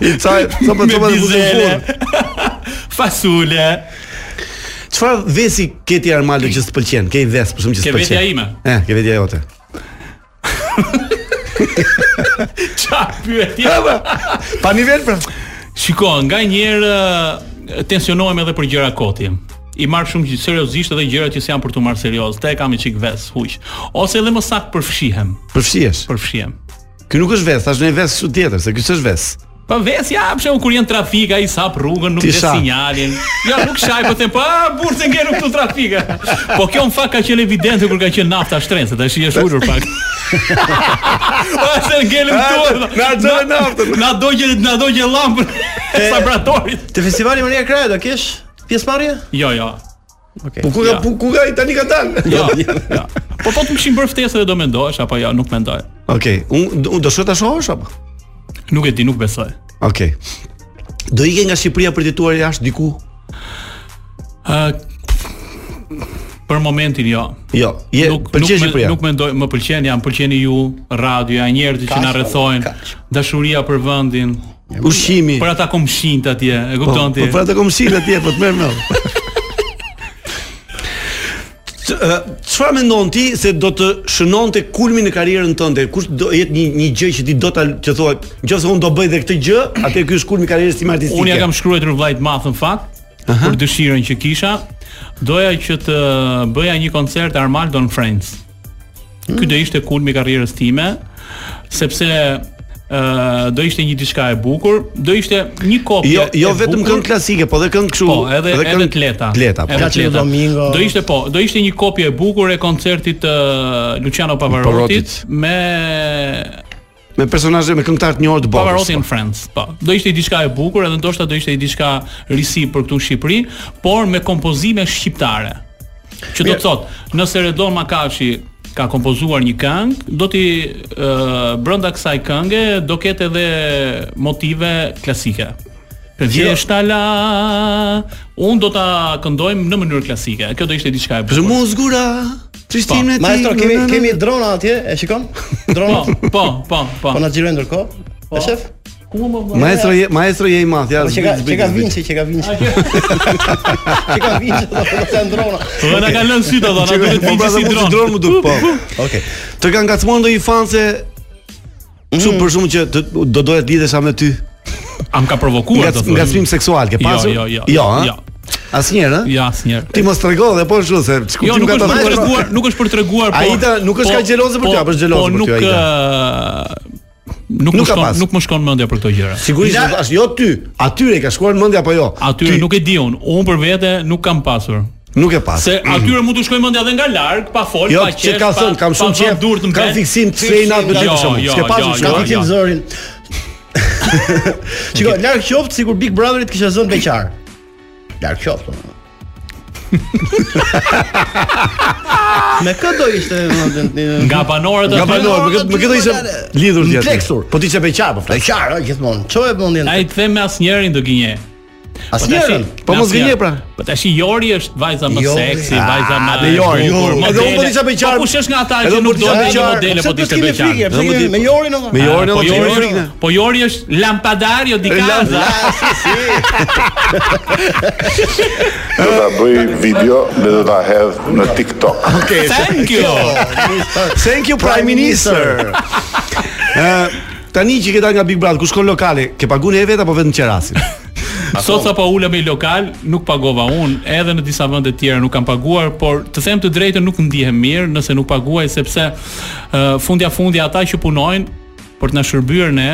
E: I çaj, po-
K: Me
E: çopë çopë të fusin në
K: bizele.
E: furrë.
K: *laughs* Fasule. *laughs*
E: Çfarë vesi ke ti Armando që s'të pëlqen? Ke i ves për shkak që
K: Ke
E: s'të pëlqen.
K: vetja ime.
E: E, ke vetja jote.
K: Ça pyetje?
E: Pa nivel pra.
K: Shiko, nga njerë ë, tensionohem edhe për gjëra koti. I marr shumë gjë- seriozisht edhe gjëra që s'janë për të marrë serioz. Te e kam i çik ves, huq. Ose edhe më saktë përfshihem,
E: Përfshihesh.
K: përfshihem.
E: Ky nuk është ves, tash në ves kështu tjetër, se ky s'është ves.
K: Po ves ja, për shembull kur jeni trafik ai sap rrugën, nuk
E: Ti
K: ke
E: sha.
K: sinjalin. Ja nuk shaj po them, po a, burr se ngjen këtu
E: *laughs*
K: trafik. Po kjo në fakt ka qenë evidente kur ka qenë nafta shtrense, tash i është ulur
E: *laughs*
K: pak. Po se ngelëm këtu.
E: na harxove naftën.
K: Na dogje na dogje llampën e *laughs* sabratorit.
F: Te festivali Maria Kraja do kesh pjesëmarrje?
K: Jo, jo.
E: Po ku
K: Ja.
E: ka ku ka tani ka dalë.
K: Jo, jo. Po po të kishin bërë ftesë dhe do mendosh apo jo, nuk mendoj.
E: Okej, unë unë do shoh ta shohësh apo?
K: Nuk e di, nuk besoj.
E: Okej. Do ike nga Shqipëria për tituar jashtë diku?
K: Ë për momentin jo.
E: Jo, je
K: Nuk nuk,
E: pëlqen
K: me,
E: Shqipëria.
K: nuk mendoj, më pëlqen, jam pëlqeni ju, radioja, njerëzit që na rrethojnë, dashuria për vendin,
E: Ushqimi.
K: për ata komshinjt atje, e
E: Po,
K: kupton ti?
E: po pra të komshin atje, po të merr mend. Çfarë mendon ti se do të shënonte kulmin në karrierën tënde? Kush do jetë një një gjë që ti do ta që thua, nëse unë do bëj dhe këtë gjë, atë ky është kulmi i karrierës time artistike.
K: Unë ja kam shkruar vllajt math në fakt, për dëshirën që kisha, doja që të bëja një koncert Armaldo në Friends. Ky
E: Mm.
K: do ishte kulmi i karrierës time, sepse ë do ishte një diçka e bukur, do ishte një kopje.
E: Jo, jo
K: e
E: vetëm
K: bukur.
E: këngë klasike, po edhe këngë kështu.
K: Po, edhe edhe,
E: këngë
K: tleta.
E: Tleta, po.
K: Edhe
F: Placido
K: tleta.
F: Domingo.
K: Do ishte po, do ishte një kopje e bukur e koncertit të Luciano Pavarotit
G: Pavarotit.
K: me
E: me personazhe me këngëtar të njohur të botës.
K: Pavarotti në Friends, po. Do ishte diçka e bukur, edhe ndoshta do ishte diçka risi për këtu në Shqipëri, por me kompozime shqiptare. Që do të thotë, nëse Redon Makashi ka kompozuar një këngë, do t'i uh, brenda kësaj kënge do ketë edhe motive klasike. Për vjeshta la, unë do ta këndojmë në mënyrë klasike. Kjo do ishte diçka e
E: Për
K: bukur.
E: mu zgura Trishtimin e ti
F: Maestro, kemi kemi drona atje, e shikon?
K: Po,
F: Drona.
K: po, po, po.
F: Po na xhirojnë ndërkohë. E shef?
K: Ku më vjen?
E: Maestro je, maestro je i madh, ja.
F: Po që ka
E: zbyt,
F: që ka
E: zbyt, zbyt.
F: vinçi, që ka vinçi. *laughs* Që ka vinçi, do të thënë drona.
K: Po na kanë lënë sytë ato, na
E: Që
K: duhet
E: po,
K: të
E: pra,
K: si
E: dhe mu si
K: dron.
E: dron më duk, po.
F: Okej.
E: Të kanë ngacmuar ndonjë fan se
F: Mm.
E: Shumë për shumë që të, do doja të lidhesha me ty.
K: A më ka provokuar
E: Ngac-
K: do të thotë.
E: Ngacmim seksual ke
K: Jo,
E: pasur?
K: jo, jo,
E: Jo, ha?
K: jo.
E: Asnjëherë, ha?
K: Ja, asnjëherë.
E: Ti mos trego dhe po ashtu se
K: Jo,
E: çkuptim
K: nuk
E: ka
K: është
E: ta
K: për të
E: thënë.
K: treguar, nuk është për të treguar, po.
E: Aida nuk është
K: po-
E: ka xheloze për
K: po-
E: ty, apo është xheloze
K: po
E: për ty,
K: nuk,
E: Aida?
K: ë, Nuk
E: Nuk
K: më
E: ka
K: shkon,
E: pas.
K: nuk më shkon mendja për këto gjëra.
E: Sigurisht
F: Ja.
E: do thash, jo ty, atyre i ka shkuar në mendje apo jo?
K: Atyre
E: Ty
K: nuk e di unë, unë për vete nuk kam pasur.
E: nuk e pas.
K: Se atyre mund të shkoj mendja edhe nga larg, pa fol,
E: Mm. Jo,
K: pa
E: që
K: qesh.
E: ka
K: pa-
E: thënë, kam
K: pa
E: shumë
K: vënë
E: qejf,
K: durë të
E: kam
K: mbet.
E: fiksim të flej natë me
K: Jo,
E: ditë për shkakun.
K: jo,
E: S'ke pasur
K: jo,
E: shkak,
K: jo,
E: ti
F: Fikim
K: jo.
F: zërin. Shiko, larg qoftë sikur Big Brother të kishte zënë beqar. Larg qoftë. domethënë. Me kë do ishte domethënë,
K: Nga banorët
E: Nga banor, me këtë me këtë ishte lidhur
F: Në
E: ti.
F: pleksur.
E: Po ti çe beqar po flas.
F: beqar ë, gjithmonë. Çoe mendjen.
K: Ai të them me asnjërin do gënje.
F: Asnjërin.
E: Po mos gënje pra.
K: Po tash Jori është vajza më
F: Jori.
K: seksi, vajza më
E: Ah, dhe Jori,
K: bukur,
E: Jori.
K: modele.
E: Edhe unë po t'isha beqar.
K: Po kush është nga ata
E: Edhe
K: që
E: unë po
K: nuk do
E: t'isha
K: të ishte
E: beqar.
K: modele, po të ishte beqar.
E: Pse kemi
F: Me Jorin o.
E: Me Jorin
K: po
E: apo
K: Jori,
E: Jori?
K: po Jori është lampadario di kaza.
G: Do ta bëj video dhe do ta hedh në TikTok.
E: Okej.
K: Thank you.
E: Thank you Prime
K: *laughs*
E: Minister. Ë tani që ke dalë nga Big Brother, ku shkon lokale, ke paguar e vet apo vetëm qerasin?
K: Sot sa po ulem i lokal, nuk pagova unë, edhe në disa vende të tjera nuk kam paguar, por të them të drejtën nuk ndihem mirë nëse nuk paguaj sepse uh, fundja fundja ata që punojnë për të na shërbyer ne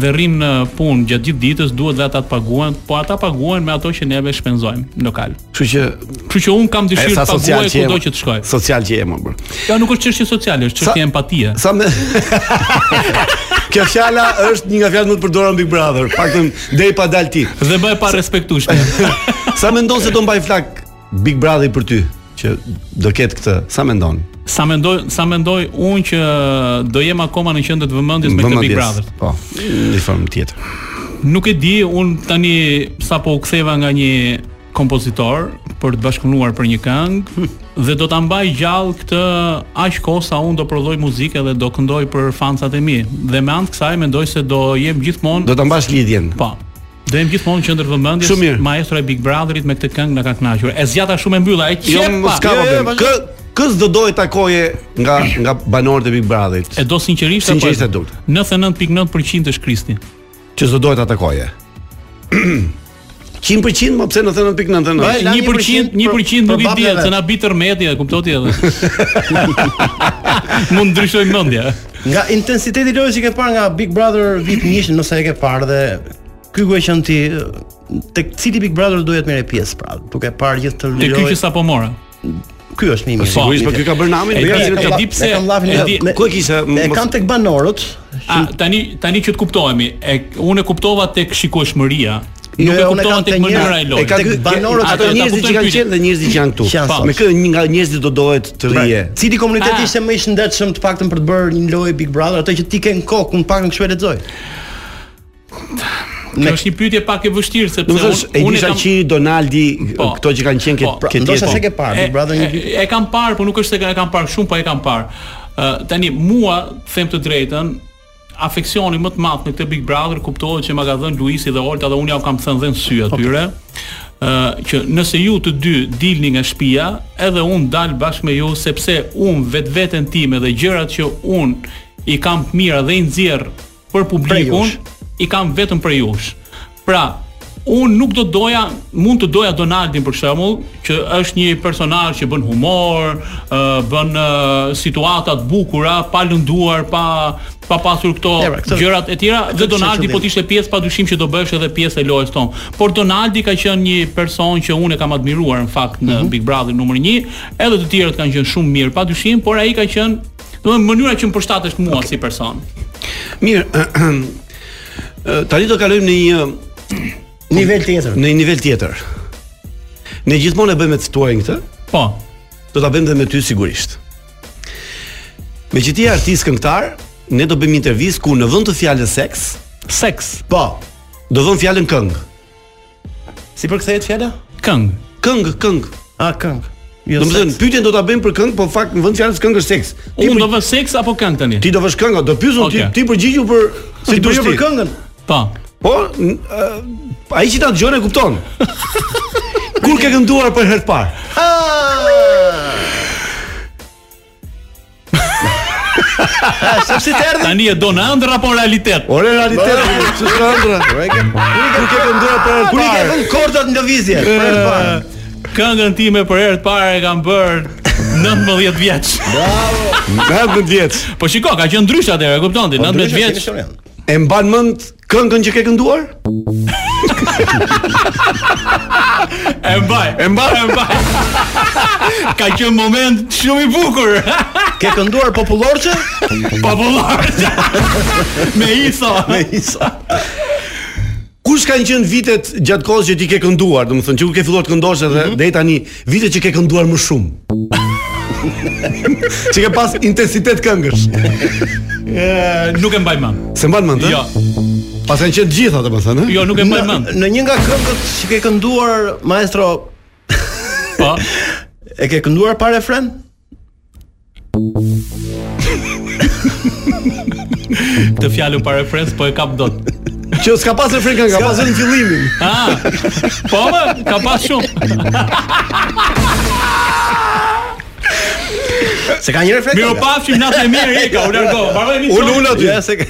K: dhe rrim në punë gjatë gjithë ditës duhet dhe ata të paguhen, po ata paguhen me ato që neve shpenzojmë lokal.
E: Kështu që
K: Kështu që un kam
E: e
K: dëshirë
E: sa
K: të
E: social
K: paguaj
E: që
K: kudo
E: jemi.
K: që të shkoj.
E: Social që jemi bro.
K: Ja nuk është çështje sociale, është çështje
E: Sa-
K: empatie.
E: Sa më *laughs* Kjo fjala është një nga fjalët më të përdora në Big Brother, paktën deri pa dal ti.
K: Dhe bëhet pa respektueshme.
E: *laughs* Sa mendon se do mbaj flak Big Brother për ty që do ketë këtë? Sa mendon?
K: Sa mendoj, sa mendoj unë që do jem akoma në qendër të vëmendjes me këtë
E: Vëmendjes.
K: Big Brother.
E: Po, në formë tjetër.
K: Nuk e di, unë tani sapo u ktheva nga një kompozitor për të bashkëpunuar për një
E: *laughs*
K: këngë dhe do ta mbaj gjallë këtë aq kohë sa unë do prodhoj muzikë dhe do këndoj për fansat e mi. Dhe me anë të kësaj mendoj se do jem
E: Do
K: gjithmonë
E: ta mbash lidhjen.
K: po. Do jem gjithmonë në qendër
E: Shumë mirë.
K: të vëmendjes maestro e Big Brotherit me këtë këngë na ka kënaqur. E zjata shumë e mbylla, e
E: Jo,
K: qepa.
E: mos ka problem. Kë kës do doje takoje nga nga banorët e Big Brotherit?
K: e do sinqerisht
E: Sinqerisht e
K: apo? jo?
E: duket.
K: 99.9% është Kristi.
E: Që s'do doje ta takoje? 100% më pse 99.99?
F: Vaj, la
K: 1%
F: 1%
K: 1% nuk i
F: për
K: dihet
F: babneve.
K: se na bi tërmeti, e kuptoti edhe.
F: *laughs*
K: Mund ndryshoj mendja.
F: Nga intensiteti i lojës që ke parë nga Big Brother vit 1, nëse e ke parë dhe ky ku e qen ti tek cili Big Brother do jetë merre pjesë pra, duke parë gjithë të
K: Te ky që
F: lojën.
K: sapo mora.
F: Ky është më i mirë.
K: Po,
E: Sigurisht, po ky ka bërë namin,
K: E
E: po ja
K: di-
E: si
K: e
E: ka-
K: di pse-
F: e kam lafin
K: e
F: e
K: di-
F: me-
E: Ku e kishe?
F: E
E: mos-
F: kam tek banorët.
K: A tani tani që të kuptohemi, e unë e kuptova tek shikueshmëria. Nuk e
F: Jo, unë
K: kuptova
F: kam
K: tek
F: tek
K: mënyra
F: njerëz-
K: e
E: E
K: lojës.
E: ka
F: Tek
E: ky
F: banorët,
E: banorët ato
K: ata ta
E: njerëzit që
K: kuptojnë
E: kanë
K: pyetjen.
E: qenë dhe njerëzit që janë këtu.
F: Që janë
E: Po.
F: sot.
E: Me kë një nga njerëzit do dohet të
K: Pra-
E: rrije.
F: Pra, Cili komunitet
K: Ah.
F: ishte më i shëndetshëm të paktën për të bërë një lojë Big Brother, atë që ti ke në kokë, unë paktën kështu e lexoj.
K: Kjo është një pyetje pak e vështirë sepse
E: Do të thosh
K: unë- unë e
E: Edisa
K: kam
E: Qiri, Donaldi,
K: Po.
E: këto që kanë qenë
K: Po.
E: këtë
F: Pra,
E: këtë
F: ndoshta
E: jetë.
F: se ke parë Big Brother një vit.
K: e, e kam parë, por nuk është se ka- e kam parë shumë, po e kam parë. Ë tani mua, them të drejtën, afeksioni më të madh në këtë Big Brother kuptohet që ma ka dhënë Luisi dhe Olta dhe unë ja u kam thënë dhe në sy atyre. Ë që nëse ju të dy dilni nga shtëpia, edhe unë dal bashkë me ju sepse unë vetveten time dhe gjërat që unë i kam të mira dhe i nxjerr për publikun,
F: jush.
K: i kam vetëm për jush. Pra, unë nuk do doja, mund të doja Donaldin për shembull, që është një personazh që bën humor, ë, bën ë, situata të bukura, pa lënduar, pa pa pasur këto
F: Ja, pra, këtë-
K: gjërat e tjera dhe
F: këtë
K: Donaldi
F: kisha
K: po të ishte pjesë padyshim që do bësh edhe pjesë e lojës tonë. Por Donaldi ka qenë një person që unë e kam admiruar në fakt në Big Brother numër 1, edhe të tjerët kanë qenë shumë mirë padyshim, por ai ka qenë, domethënë mënyra që më përshtatesh mua si person.
E: *clears throat* Mirë, *clears throat* ë, tani do kalojmë në një
F: nivel tjetër.
E: Në një nivel tjetër. Ne gjithmonë e bëjmë të ftuarin këtë.
K: Po.
E: Do ta bëjmë edhe me ty sigurisht. Me që ti je artist këngëtar, ne do bëjmë një intervistë ku në vend të fjalës seks,
K: seks,
E: po, do vëmë fjalën këngë.
F: Si përkthehet fjala? Jo,
K: Këngë.
E: Këngë, këngë. Jo,
F: A këngë.
E: Do të thënë pyetjen do ta bëjmë për këngë, po fakt në vend fjalës këngë është seks. Ti
K: Unë
E: për-
K: do vë seks apo këngë tani?
E: ti do vësh këngë, do pyesën ti
K: Okej.
E: ti përgjigju për si
F: Ti
E: duhet
F: për këngën?
K: Po.
E: Po, n- ë, ai që ta dëgjon e
F: *laughs*
E: kupton. Kur ke kënduar për herë të parë?
F: Sepse të erdhi.
K: Tani e do në ëndër apo në realitet?
E: Ore realitet, ç'është ëndra? Kur ke kënduar për herë të
F: Kur i ke
E: parë?
F: vënë kordat në lëvizje? Për herë të parë.
K: Këngën time për herë të parë e kam bërë 19 vjeç.
E: Bravo. 19 vjeç.
K: Po shiko, ka qenë ndryshe atëherë, e kupton ti, 19
F: Po, Ndryshe,
K: vjeç.
F: keni qenë.
E: E mban mend këngën që ke kënduar?
K: E mbaj. E mbaj, e mbaj. *laughs* Ka qenë moment shumë i bukur.
F: Ke kënduar popullorçe?
K: Popullar. Me iso.
E: Kush kanë qenë vitet gjatë kohës që ti ke kënduar, domethënë që kur ke filluar të këndosh edhe deri tani, vitet që ke kënduar më shumë? që ke pas intensitet këngësh.
K: Nuk *laughs* e mbaj mend.
E: Se mban mend, ë?
K: Jo,
E: Pas kanë qenë të gjitha domethënë, ë?
K: jo nuk e mbaj
F: Në,
K: mend.
F: në një nga këngët që ke kënduar maestro,
K: Po.
F: e ke kënduar pa refren?
K: Të fjalën para refrens po e kap dot.
E: Që s'ka pas refren këngë, ka pas vetëm fillimin.
K: Ah. Po më ka pas shumë.
F: Se ka një refren.
K: Mirë u
F: kënga.
K: pafshim natë e mirë Eka, u largo. Mbaroj
E: Unë
K: misionin.
E: unë aty.
F: Ja, se ka.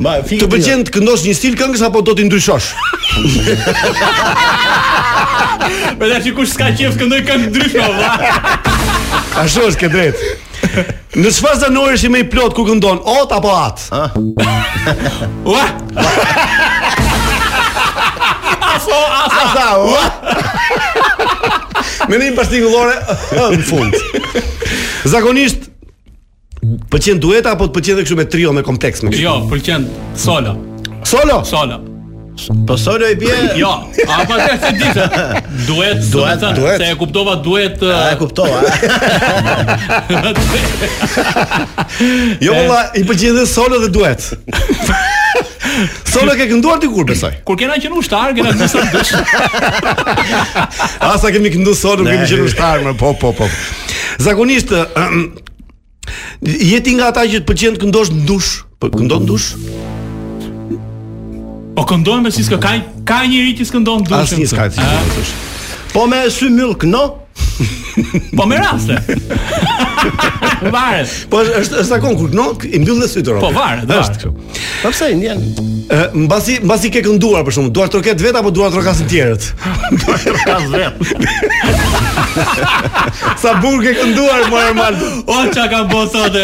F: Ma,
E: Të pëlqen të këndosh një stil këngësh apo do ti ndryshosh?
K: Për ta kush s'ka qef këndoj këngë ndryshme valla.
E: Ashtu është ke drejt. Në çfarë zanoresh i më i plot ku këndon? Ot apo at?
K: Ua. Aso, aso.
E: Ata, ua. Me një partikullore në fund. Zakonisht pëlqen dueta apo të pëlqen edhe kështu me trio me kompleks me kështu.
K: Jo, pëlqen solo,
E: Solo.
K: solo.
F: Po solo i bie.
K: Jo, apo atë se dishë. Duet,
F: Duet,
K: duet,
F: duet.
K: Se e kuptova duet.
F: A e kuptova. a?
E: Jo valla, i pëlqen edhe solo dhe
F: *laughs*
E: duet. Solo ke kënduar ti kur besoj?
K: *laughs* Kur kena qenë ushtar, kena qenë sa dësh.
E: Asa kemi këndu solo, nuk kemi
F: Ne.
E: qenë ushtarë, më po po po. Zakonisht ë, ëm, je ti nga ata që të pëlqen të këndosh në dush? Po këndon në dush?
K: Po këndojmë me si s'ka ka ka njëri që s'këndon dushën.
E: Asnjë s'ka
K: këtu. Ah,
E: të
F: Po me sy myll këno.
K: Po me raste. Varet.
E: Po është është është zakon kur no i mbyll në sytë robi.
K: Po varet, varet.
E: kështu.
F: Po pse ndjen?
E: Ë, Mbasi mbasi ke kënduar për shkakun, duar troket vet apo duar trokasin
K: *laughs*
E: tjerët? *laughs* Sa bukur ke kënduar më normal.
K: O Po, çka ka bën sot. e?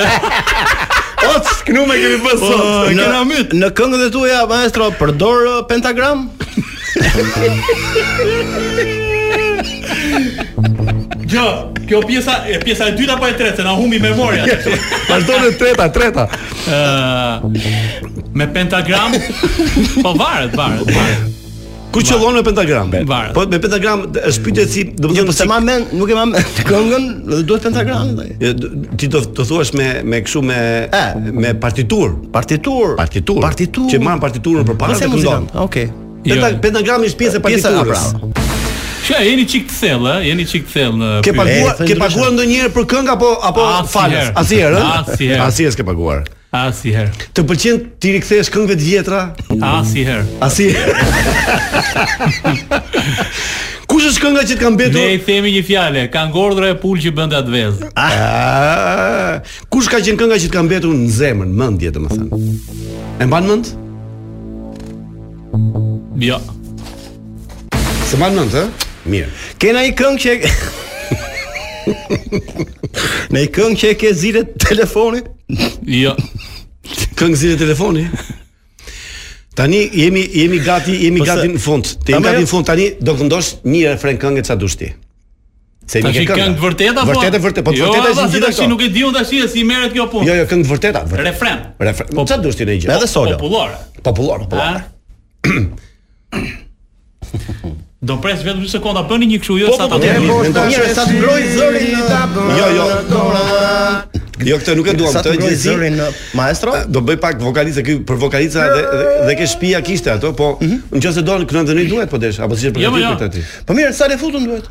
E: Oc, kënu me kemi bën sot.
K: Po,
E: Në-
K: kena myt.
F: Në këngët e tuaja maestro përdor uh, pentagram?
K: Jo, kjo pjesa, e pjesa e dytë apo e tretë, se na humbi memoria.
E: Vazhdon e treta, treta.
K: Ë me
E: *laughs*
K: pentagram. Po varet, varet, varet.
E: Ku qëllon me pentagram?
K: Varet.
E: Po me pentagram d- është pyetje si,
F: Jo,
E: domethënë
F: po se
E: si
F: ma men, nuk e ma men këngën, dhe duhet pentagram. Dhe.
E: E, d- ti do të thuash me me kështu me
F: E.
E: me partitur.
F: Partitur.
E: Partitur.
F: Partitur.
E: Që marr partiturën përpara dhe
F: Nëse
E: këndon.
F: muzikant. Okej.
K: Jo.
E: Penta- Pentagrami është pjesë e
F: Pjesa a,
E: partiturës.
F: bravo.
K: Shë, jeni çik të thellë, ë, jeni çik të thellë në
E: Ke
K: pyetje.
E: paguar,
F: thënë
E: ke
F: ndryshe.
E: paguar ndonjëherë për këngë apo apo
K: Asnjëherë.
E: falas? Asnjëherë, ëh?
K: Asnjëherë.
E: Asnjëherë s'ke paguar.
K: Asnjëherë.
E: Të pëlqen ti rikthesh këngëve të vjetra?
K: Asnjëherë.
E: Asnjëherë. Kush është kënga që të ka
K: Ne i
E: mbetur?
K: themi një fjalë, ka ngordra e pul që bën atë vezë.
E: Ah, Kush ka qenë kënga që të ka mbetur në zemrën, mendje domethënë? E mban mend?
K: Jo.
E: Se mban mend, ë? Mirë.
F: Kena një këngë që e- Në një këngë që e ke zile telefoni
K: Jo.
E: Këngë zile telefoni. Tani jemi jemi gati, jemi
F: Po se-
E: gati në fund. Te jemi
F: Ama
E: gati
F: jo-
E: në fund. Tani do këndosh një refren këngë ça dush ti. Se
K: Tash i këngë të vërteta po.
E: Vërtetë vërtet, po të
K: Jo,
E: vërteta
K: valla,
E: ishin
K: se
E: gjitha
K: tash
E: këto.
K: nuk e diun tash se si merret kjo punë.
E: Jo, jo, këngë të vërteta. vërtet.
K: Refren.
E: Refren. Çfarë dush ti në një gjë?
F: Edhe solo.
K: Popullore.
E: Popullor, popullor.
K: Ha? Do pres vetëm 2 sekonda, bëni një kështu jo
E: Po,
K: sa
E: po,
K: ta
E: po,
K: termin.
E: po, po, mirë, sa të mbroj zërin në- Jo, jo. Jo, këtë nuk e duam,
F: Sa të
E: këtë
F: ngroj
E: gjithësi.
F: zërin në maestro?
E: Do bëj pak vokalica këy për vokalica dhe dhe, dhe ke shtëpia kishte ato, po
F: Mhm.
E: nëse do këndon të një duhet po desh, apo si është
K: Jo, po,
E: përgatitur
K: jo.
E: këtë aty.
F: Po mirë, sa le futun duhet?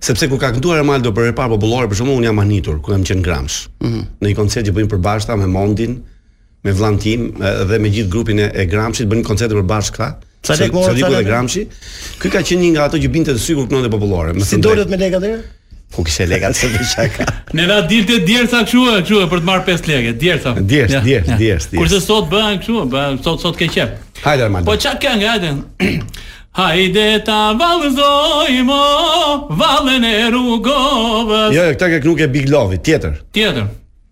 E: Sepse kur ka kënduar Armando për herë parë popullore, për shembull, un jam anitur kur jam qenë Gramsh.
F: Mhm.
E: Në një koncert që bëjmë përbashkëta me Mondin, me vllain tim e, dhe me gjithë grupin e, e Gramshit bënim koncerte përbashkëta.
F: Sa lek morën,
E: Sadiku
F: sa
E: dhe
F: lek?
E: Gramshi. Ky ka qenë një nga ato që binte të sigurt kënonte popullore. më
F: Si
E: thënë
F: dolet
E: drejtë.
F: me lekë atëherë?
E: Ku kishte lekat se për çaka.
K: Ne na dilte djersa kështu, e, kështu e, për të marr 5 lekë, djersa.
E: Djerst, djerst, djerst, djerst.
K: Kurse sot bëhen kështu, bëhen sot sot ke qep.
E: *laughs* Hajde Armando.
K: Po çka këngë, hajde. *clears throat* Hajde ta vallëzojmo vallën e rrugovës.
E: Jo, jo, këtë ke nuk e Big Love, tjetër. *clears throat*
K: Tjetër.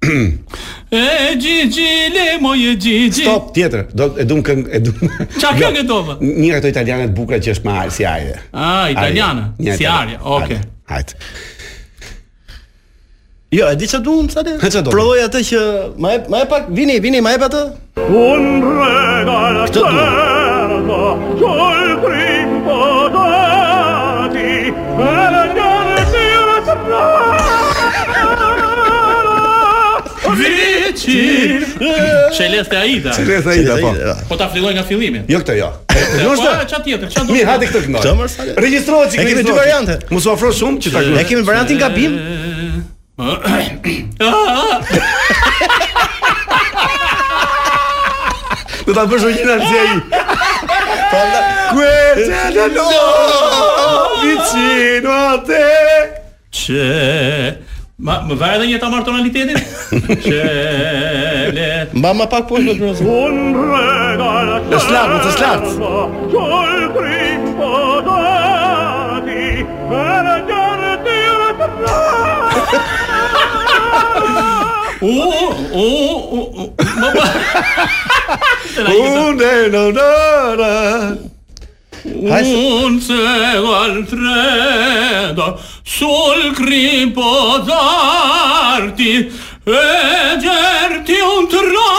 K: e Gigi le moje Gigi.
E: Stop, tjetër. Do e dum këngë, e dum.
K: *laughs* Çfarë
E: Jo,
K: këngë do, vë?
E: Një nga ato italiane të bukura që është me Ari, si Ajde.
K: Ah, italiane. Si Aria, okay.
E: Hajt.
F: Jo, e di çfarë duam, sa le?
E: Ha, çfarë do?
F: Provoj atë që më jep, më jep pak, vini, vini, më jep atë.
H: Këtë
K: Vici. Celeste Aida.
E: Rreth ai apo.
K: Po ta filloj nga fillimi.
E: Jo këtë jo.
K: *laughs* Po
E: Jo është.
K: a, çfarë tjetër? Çfarë do?
E: Mirë, hajde këtë këndoj.
F: Këtë, mërë, sa le?
E: Regjistrohet si
F: E kemi dy variante.
E: Mos u afro shumë që ta
F: Ne kemi variantin gabim.
E: Do ta bësh origjinal si ai. Prandaj, ku vicino a te.
K: Çe Ma më varet edhe një ta marr tonalitetin? Çele.
F: Mba më pak poshtë do të thonë.
E: Është lart, mos është lart.
K: U, u, u, u. Më pa.
E: Unë no no.
F: Hajde.
K: Un se altreda sul cripo d'arti e gerti un tra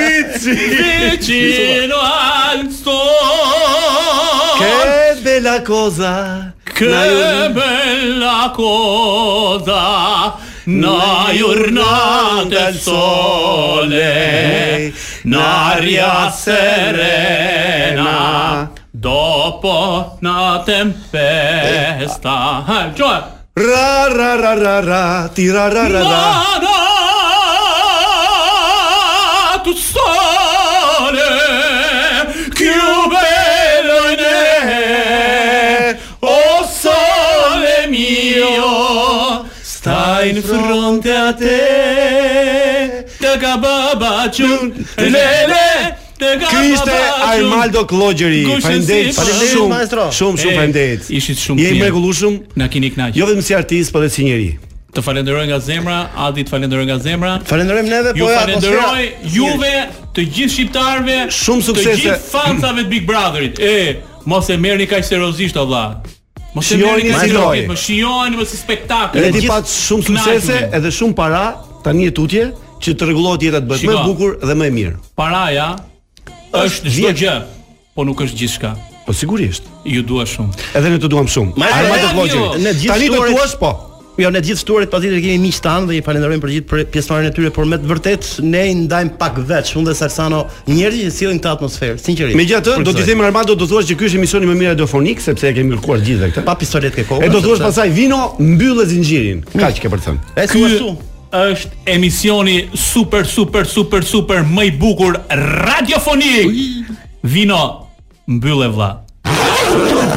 K: vicino al sol
E: Che bella cosa.
K: che bella cosa una giornata al sole un'aria serena dopo una tempesta Eh, cioè
E: Ra ra ra ra ra, ti ra ra ra ra.
K: tu sole più bello in me oh sole mio sta in fronte a te te cababaciun lele te
E: Ky ishte Armaldo Klogjeri.
K: Gushen
E: Faleminderit faleminderit
K: si-
F: Faleminderit,
E: shumë.
F: maestro.
E: Shumë shumë
K: E,
E: faleminderit.
K: ishit shumë
E: Je i
K: mirë.
E: mrekullueshëm,
K: na keni kënaq
E: jo vetëm si artist, por edhe si njerëz.
K: të falenderoj nga zemra Adi të falenderoj nga zemra
F: Falenderojmë neve,
K: Ju
F: po e
K: falenderoj
F: atmosfera-
K: juve, të gjithë shqiptarëve,
E: Shumë suksese.
K: Të gjithë fansave të Big Brotherit. E, mos e merrni kaq seriozisht o vlla. Mos e
E: Shijoni
K: merrni kaq
E: si lojë.
K: seriozisht, po shijoni mos si spektakël.
E: Edhe ti pat shumë suksese edhe shumë para tani e tutje që të rregullohet jeta të bëhet më e
K: Shiko.
E: bukur dhe më e mirë.
K: Paraja është çdo
E: vjet.
K: gjë, po nuk është gjithçka.
E: Po sigurisht.
K: Ju dua shumë.
E: Edhe ne të duam shumë.
F: Ma-
E: Armando
K: e, jo.
E: Klogjeri.
F: Ne gjithë
E: Tani të
F: shtuarit-
E: thuash po.
F: Jo, ne gjithë shtuarit patjetër kemi miq tan dhe i falenderojmë për gjithë për pjesëmarrjen e tyre, por me të vërtetë ne i ndajmë pak veç, unë dhe Salsano, njerëz që sillin këtë atmosferë, sinqerisht.
E: Megjithatë, do t'i
F: Përkësoj.
E: them Armando do thuash që ky është emisioni më i mirë radiofonik sepse e kemi kërkuar gjithë dhe këtë.
F: pa pistolet ke kohë.
E: E do thuash
F: sepse-
E: pasaj vino mbyllë zinxhirin. Kaq ke për të thënë.
F: E
K: Ky
F: su e su.
K: është emisioni super super super super më i bukur radiofonik. Vino mbyllë vlla.